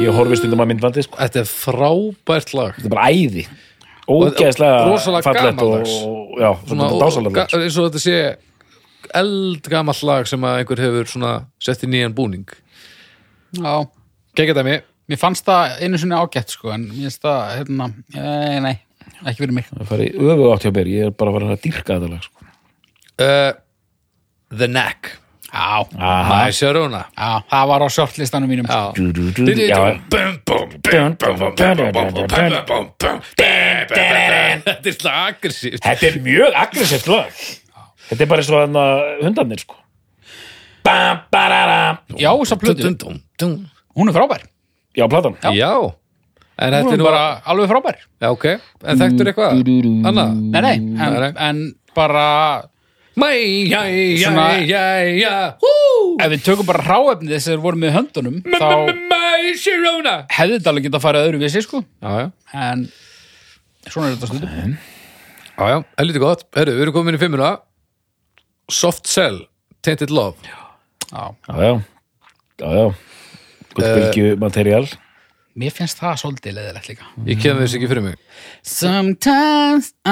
Ég horfi stundum að myndbandi sko.
Þetta er frábært lag
Þetta er bara æði Ógeðslega
Rosalega
fallett og,
gamaldags.
og já, svona sko. dásalega
ga- eins og þetta sé eldgamall lag sem að einhver hefur svona sett í nýjan búning
Já,
Gekka dæmi
mér fannst það einu sinni ágætt sko, en mér finnst það, hérna, eh, nei, ekki verið mér.
Það fari öfuð átt hjá mér, ég er bara farin að dýrka þetta lag sko.
uh, The Knack
Já,
Aha
Ah.
Næsja Róna
já, það var á shortlistanum mínum. sko.
Já
Já,
Þetta er slag aggressíft
Þetta er mjög aggressivt lag Þetta er bara eins og hann hundarnir sko Bam, bararam
Já, þess að plötu, hún er frábær.
Já, platan
Já En þetta
Hún
er
er
nú
bara
bara
alveg frábær.
Já, ok En þekktur eitthvað Annað
Nei, Mm, nei, en,
Nei, nei.
en bara,
Mæ, jæ, jæ,
Svona-
jæ, jæ Hú
ef við tökum bara ráefnið þess að þeir voru með höndunum, þá
Mæ, Sirona
hefði þetta alveg getað að fara öðru vissi, sko,
Já, já
en svona er þetta stundum.
Já, já, helviti gott. Herru, við erum komin í fimmuna. Soft Cell, Tainted Love.
Já,
Já, já, já, já. Gutt
Eh,
bylgju materiál
mér finnst það svolítið leðilegt líka.
Ég kem þess ekki fyrir mig.
Sometimes I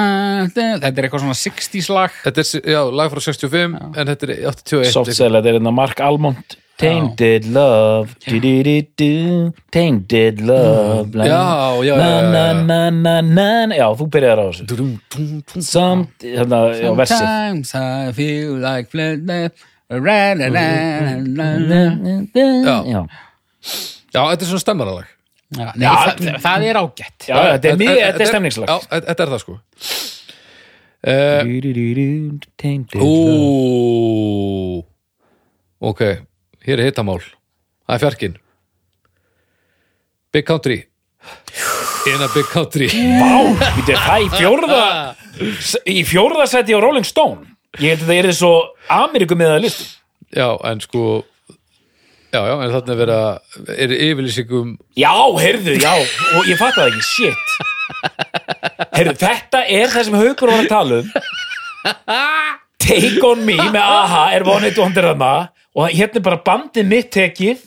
think- Þetta er eitthvað svona 60s lag
Þetta er, já, lag frá 65, en þetta er 81.
Soft Cell, þetta er hérna Mark Almond Tainted love du-du-du-du, Tainted love bla-
Já, já, já, já, já.
na, na, na, na, na. já, þú byrjar á þessu
Cell.
Samt, hérna, já, versið
Sometimes I feel like flirting around and around and around.
Já, já,
Já, þetta er svona stemmaralag.
Já, Nei, það, það er ágætt
þetta er mjög, þetta er stemningslag
Já, þetta þetta er það sko.
Du-du-du-du, Tainted
Ú,
love
ok, hér er hittamál. Það er fjarkinn. Big Country. In a Big Country.
Vá, býttu, það í fjórða í fjórða seti á Rolling Stone ég held að það er svo Ameríku með að listu
Já, en sko, já, já, en þarna er verið að, er um yfirlýsingum
já, heyrðu, já, og ég fatt það ekki shit heyrðu, þetta er það sem Haukur var að tala um Take on me með aha er vonið dóndirana og hérna er bara bandið mitt tekið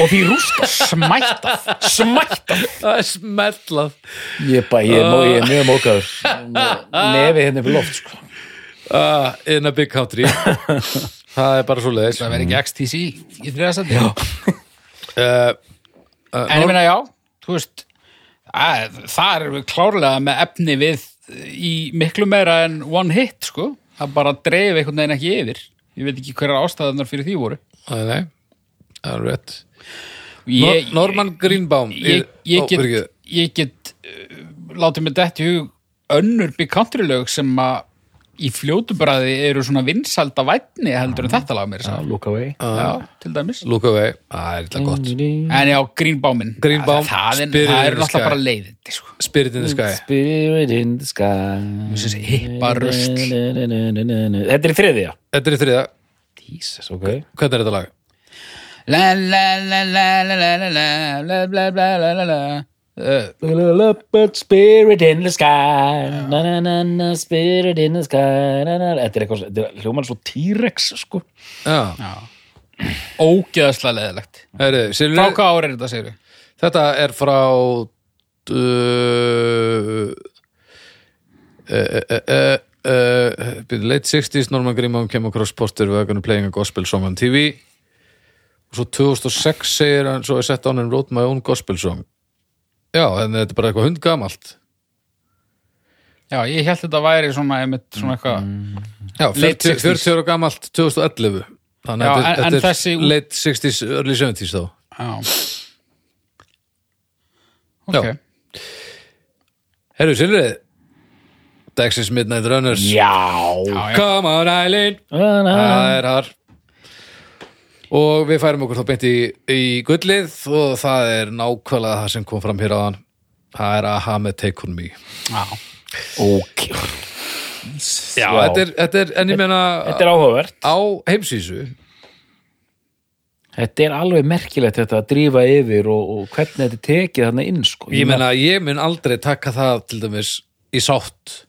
og því rúskar
Smættað
smætt
Það er smellað
ég, bara, ég, er mó- ég er mjög mókaður nefið hérna fyrir loft sko.
uh, In a big country Það er bara svo leiðis
Það verði ekki XTC í þriðasandi
uh,
Eh, En ég meina já, þú veist að, það er við klárlega með efni við í miklu meira en one hit sko, það bara dreif einhvern veginn ekki yfir ég veit ekki hverjar ástæðanar fyrir því voru
Nei, nei, það er rétt
ég,
Nor- Norman Greenbaum
ég,
Ó,
ég get,
fyrirgefðu.
ég get uh, látið mig dætt í hug önnur big country lög sem að í fljótu bræði eru svona vinsalda vætni heldur en þetta lag mér
Ah,
sá.
Look away
Já, til dæmis
Look away, það er eitthvað gott
en já, Greenbámin
Green Baum,
það, það, er-
Spirit
það
in
eru
the sky.
náttúrulega bara leiðindi sko.
Spirit in the Sky
Spirit in the sky
þessi hippa rusl
Þetta er í þriðja
Þetta er í þriða,
Jesus, ok
hvernig er þetta lag?
la la la la la la la la la la la la la la Uh,
But spirit in the sky na, na, na, na, Spirit in the sky na, na. na. Þetta er eitthvað, þetta er hljóman svo T-rex sko.
Já,
ógeðaslega leðilegt
heyrðu, Silvur
frá hvað ári er þetta segir við?
Þetta er frá uh, e, uh, uh, late 60s Norman Grimman came across poster we're gonna playing a gospel song on TV og svo 2006 segir hann svo I set on and wrote my own gospel song Já, en þetta er bara eitthvað hundgamalt
já, ég held þetta væri svona, einmitt, svona eitthvað
Mm. Já,
Late
40,
60s.
40 ára gamalt 2011 Þannig
Já,
að þetta,
en- en
þetta er
þessi-
late 60s, early 70s þá
Já.
Já.
Ok.
Herru, Silrið Dagsins Midnight Runners
Já Ah.
Já, já.
Come on Island
Na, na.
Það er þar Og við færum okkur þá beint í, í gullið og það er nákvæmlega það sem kom fram hér áðan Það er Aha með Take On Me
Já.
Ok
Já, þetta er, þetta er, en ég meina
Þetta er áhugavert
á heimsísu
Þetta er alveg merkilegt þetta að drífa yfir og, og hvernig þetta er tekið þarna inn sko.
Ég meina, ég mun aldrei taka það til dæmis í sátt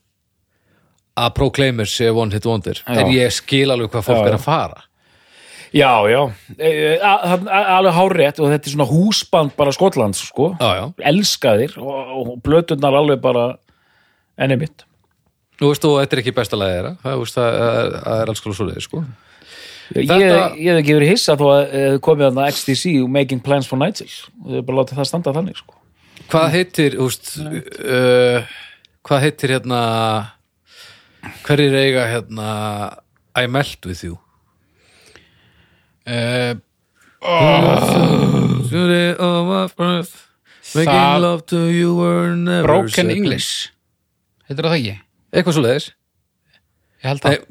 að Proclaimer sé One Hit Wonder
Já.
en ég skil alveg hvað fólk
Já.
er að fara
Já, já E, e, a- þarna- a- Alveg hárétt og þetta er svona húsband bara Skotlands sko.
Já, já
Elskaðir og, og blötunar alveg bara enni mitt
Nú veist þú, þetta er ekki besta lagið þeirra Það, þú veist, það, er, það er alls konar svoleiði, sko
Ég,
Þetta-
ég hef ekki verið hissa þó að eh, komið þarna XTC og Making Plans for Nigel og þau bara látið það standa þannig sko.
Hvað heitir, úst, uh, hvað heitir hérna, hverjir eiga hérna, I melt with you?
Uh,
Story of oh my birth, making
Það-
love to you were never
broken
certain.
English. Heitir það ekki?
Eitthvað svo leiðis.
Ég held það.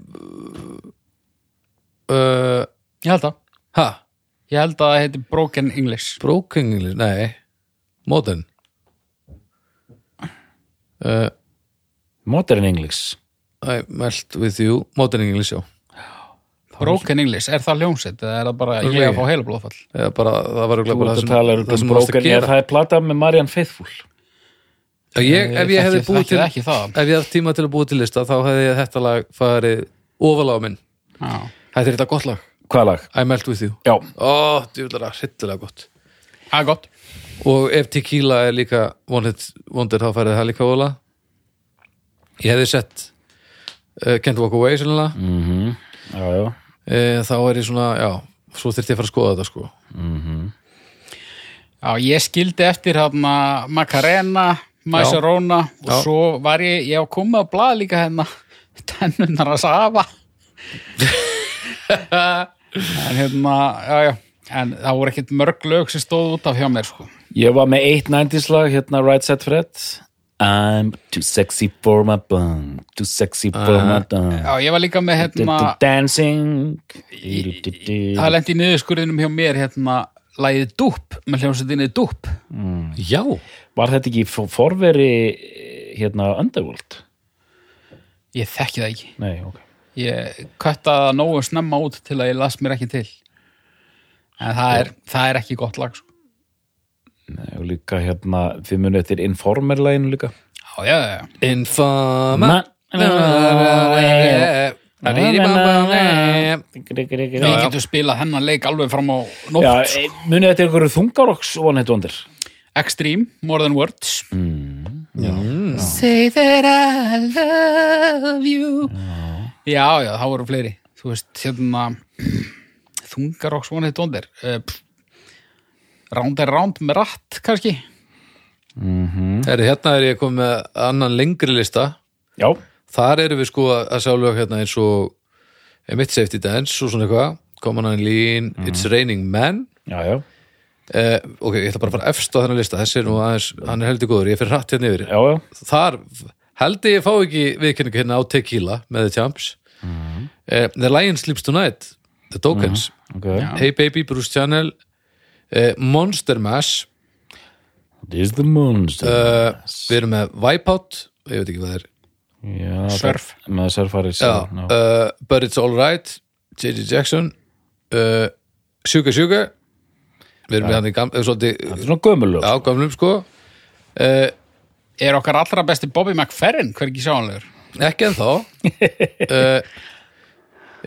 Uh,
Ég held það.
ha,
Ég held að það heitir broken English.
broken English, nei, modern. Uh,
Modern English
I melt with you, modern English, já.
Broken English, er það ljónsett eða er það bara ég
Örugglega
að fá heila blóðfall?
Eða bara, það var
Þú
örugglega bara
ert
það
að
sem,
tala um
það sem varst
broken
að
er
gera.
það er plata með Marian Faithfull
Já, ég, ef ég
þekki-
hefði búið
þekki
til
það ekki það.
ef ég hefði tíma til að búið til lista þá hefði ég þetta lag farið ofalega á minn
Já.
Þetta er þetta gott lag,
Hvað lag?
I melt with you
Já,
Ó, djúðlega, hryllilega gott
Það er gott.
Og ef tequila er líka one hit wonder þá farið það líka ofalega Ég hefði sett uh, Can't Walk Away sannlega mm.
já, já
þá er ég svona, já, svo þyrfti ég að fara að skoða þetta sko
Já, ég skildi eftir hérna Macarena, Macerona og
Já.
svo var ég, ég var komið að blaða líka hérna tennunar að safa en hérna, já, já en það voru ekkert mörg lög sem stóð út af hjá mér sko.
Ég var með 890s lag hérna Right Set Fred I'm too sexy for my bum Too sexy for my bum
Já, ég var líka með
Du-
hérna
du- Dancing Du- du- du-
það lendi í niðurskurðinum hjá mér hérna lægið dúp, með hljómsveitinni dúp
Já,
Var þetta ekki for- forveri eh, hérna Underworld?
ég þekki það ekki
Nei, ok
ég köttaði það nógu snemma út til að ég las mér ekki til en það er, það er ekki gott lag sko.
Nei, og líka hérna, þið munið eftir Informer-læginu líka
já, já, já, já
infama
Við
Já,
getum spilað hennan leik alveg fram á nótt.
eh, munið eftir einhverju þungarokks og hann heitundir
Extreme, More Than Words.
Say that I love you
Já, já, þá voru fleiri. Þú veist, hérna, þungar Eh, og svona hitt ondir. Uh, round and round með ratt, kannski.
Herri, hérna er ég komið með annan lengri lista
Já,
þar erum við sko að að sjá lög hérna eins og Emit Safety Dance og svona eitthvað Common and Lean, It's Raining Men
já, já,
eh, ok, ég ætla bara að fara efst á þennan lista þessi er nú aðeins, hann er heldur góður, ég fyrir hratt hérna yfir
já, já.
þar held ég fá ekki viðkynningu hérna á Tequila með The Champs eh, The Lion Sleeps Tonight The Tokens,
Ok,
Hey Baby, Bruce Channel eh, Monster Mash
this is the monster
eh, við erum með Wipeout ég veit ekki hvað það er
já,
Surf.
það- Með surfaris
Já, uh, But It's Alright J.J. Jackson uh, Sugar Sugar við erum með hann í gam, eh, svolítið
Svona gömulög
á gamlum sko
Er okkar allra besti Bobby McFerrin, hver ekki sjáanlegur?
ekki en þá uh,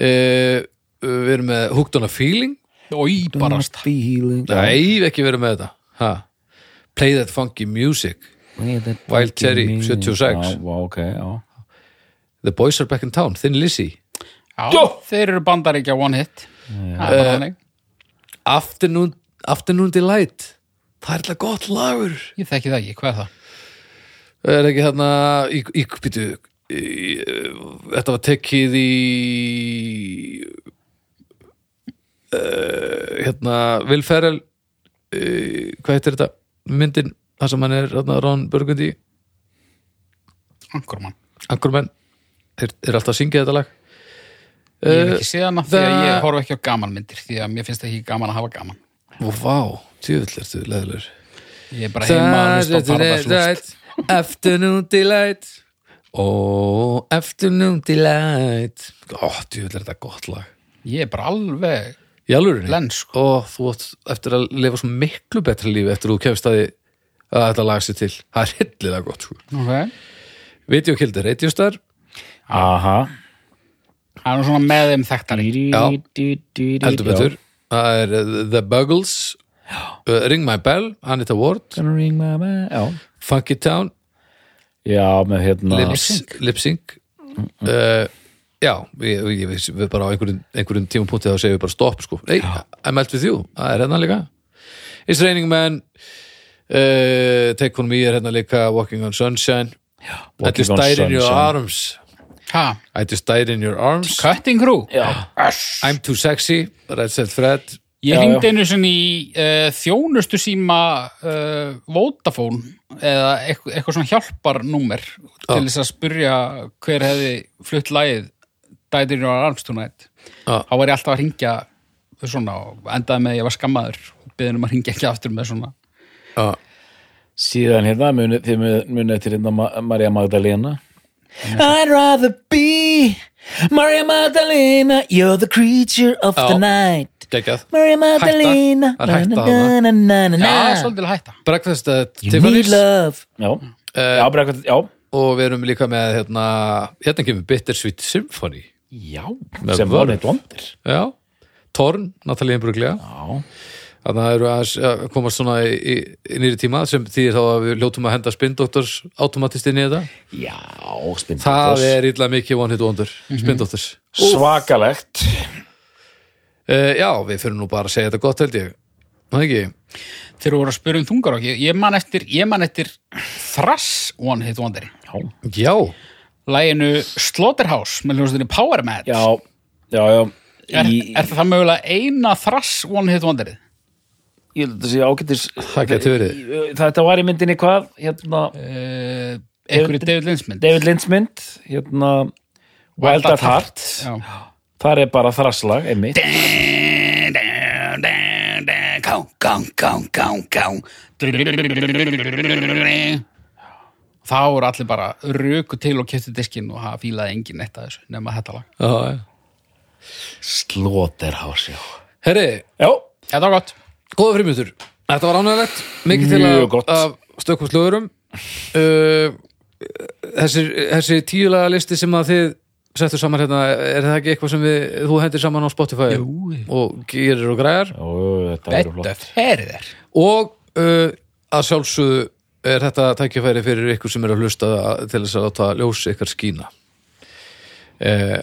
uh, við erum með Hooked on a Feeling
Í barast.
Feeling
nei, við ekki verið með þetta ha. Play That Funky Music Wild Cherry, 76.
Já, vá, ok, já
The Boys Are Back in Town, Thin Lizzy
Já, þeir eru bandaríkja one hit. Það er bara þannig.
Afternoon, Afternoon Delight það er alltaf gott lagur
Ég þekki það ekki, hvað er það?
er ekki þarna í, í, býtu, í, eh, þetta var tekið í uh, hérna Will Ferrell uh, hvað heitir þetta myndin, það sem hann er hérna, Ron Burgundy,
Ankurmann.
Anchorman er, er alltaf að syngja þetta lag
Ég hef ekki séð hana því að
það-
ég horf ekki á gamanmyndir því að mér finnst ekki gaman að hafa gaman.
og vá, tjöfull ertu leðilegur
Ég er bara heima að hlusta á Paradise Lost.
Afternoon Delight Ó, Afternoon Delight Ó, djúvill er þetta gott lag
Ég er bara alveg
Í alvörinni?
Lens,
Ó, þú átt eftir að lifa svo miklu betra lífi eftir að þú kemst að því að þetta lag sér til Það er hillilega gott, sko
okay.
Videokildi Radiostar
Aha
Það er nú svona með þeim þekktari
heldur betur Það er uh, The Buggles uh, Ring My Bell, Anita Ward
Gonna ring my bell Já,
Funky Town,
já með hérna
Lips- Lip Sync
Mm.
uh, Já, ég, ég, ég veist við bara á einhverjum, einhverjum tímapunkti þá segjum við bara stopp, sko Nei, I'm out with you, það er hérna líka It's Raining Men uh, Take On Me er hérna líka Walking on Sunshine I
Walking
just
on
died in your
Sunshine.
arms
Ha,
I just died in your arms
Cutting Crew
Já,
I'm too sexy, Red Set Fred
Ég
Já,
hringdi einu sinni í uh, þjónustu síma uh, Vodafone eða eitthvað, eitthvað svona hjálparnúmer til
Já.
þess að spyrja hver hefði flutt lagið Dætirinn á Armstúnætt
Já.
þá var ég alltaf að ringja svona og endaði með að ég var skammaður beðin um að ringja ekki aftur með svona
uh,
síðan hérna muni, þið muni- munið eftir hérna Ma- Maria Magdalena I'd rather be Maria Magdalena You're the creature of
Já.
the night
Gekkjað
Maria Magdalena
Það er hætta þarna.
na, na,
Já,
na, na.
svolítið að hætta
Breakfast at
You need
Tiffany's
love Já, já, bara eitthvað, já
og við erum líka með hérna, hérna kemur Bittersweet Symphony
Já,
Með
sem
vörð.
var neitt vondir
Já, Torn, Natalíu Bruglega
Já,
Þannig að það eru aðeins að komast svona í, í, í nýri tíma sem þýðir þá að við ljótum að henda spindoktors automatist inn í þetta
já, spindóttur
Það er illa mikið one hit wonder,
Mhm.
spindoktors
Svakalegt
uh, Já, við fyrir nú bara að segja þetta gott held ég Það ekki?
þegar voru að spyrja um þungar ég, ég man eftir, ég man eftir Thrass One Hit Wonder
Já,
Já,
læginu Slaughterhouse með hljómsveitinu Power Mad
já, já, já.
er,
Í,
er það mögulega eina Thrass One Hit Wonderið
ég held að það sé ágættis
það getur verið Eh.
Þetta var í myndinni hvað hérna,
uh, einhverju David Linsmynd
David Lynch mynd hérna, Wild at Heart Þar er bara þrasslag, einmitt
Gán, gán, gán, gán, gán Þá voru allir bara röku til og kefti diskin og það fílaði enginn eitt af þessu nema þetta lag
Já, já.
Slaughterhouse, já
Herri,
Já,
Þetta var gott
góða frímyndur Þetta var ánægilegt, mikið til
Mjög
að,
gott.
að stökum slöðurum uh, þessi, þessi tíulega listi sem að þið settur saman hérna, er það ekki eitthvað sem við, þú hendir saman á Spotify Jú. og gerir og græjar
Ó, þetta verður
Þetta
flott
ferið þér
og uh, að sjálfsögðu er þetta tækifæri fyrir ykkur sem eru að hlusta til þess að láta ljósi ykkar skína uh,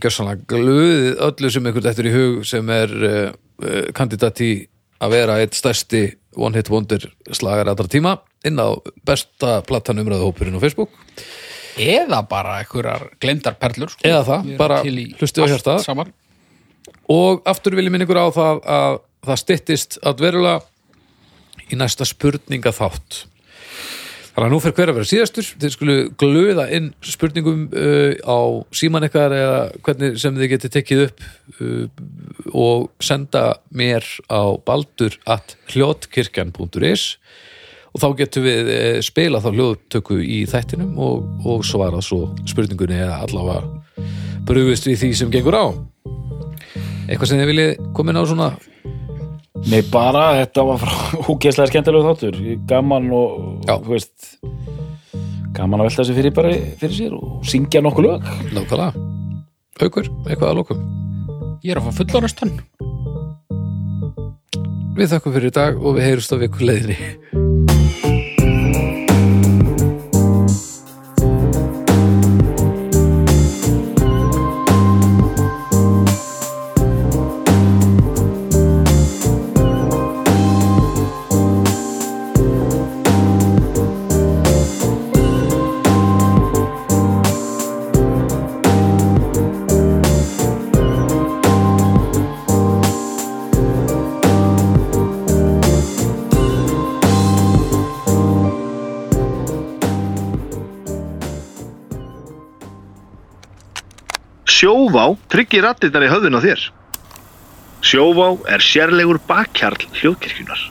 gjössanlega glöðið öllu sem ykkur þetta er í hug sem er uh, uh, kandidat í að vera eitt stærsti one hit wonder slagar allra tíma inn á besta platan umræðahópurinn á Facebook
eða bara einhverjar glemdar perlur sko.
Eða það,
Við erum
bara
til í
hlustið á
allt
hjartað.
saman.
og aftur vil ég minna ykkur á það að það styttist að verulega í næsta spurninga þátt þannig að nú fer hver að vera síðastur þið skulu glöða inn spurningum uh, á síman ykkar eða hvernig sem þið getið tekið upp uh, og senda mér á baldur at hljótkirkjan.is og þá getum við uh, spilað þá hljóðtöku í þættinum og, og svarað svo spurningunni eða allavega brugust við því sem gengur á eitthvað sem þið viljið komin á svona
Nei, bara þetta var frá húkislega skemmtilegu þáttur gaman og,
Já.
þú veist gaman að velta þessu fyrir, bara, fyrir sér og syngja nokkuð lög
nákvæmlega aukur, eitthvað að lokum
ég er að fá fullorðastönn
við þakkum fyrir í dag og við heyrumst á viku leiðinni
Sjóvá tryggir rattirnar í höfðun á þér. Sjóvá er sérlegur bakkjarl hljóðkirkjunar.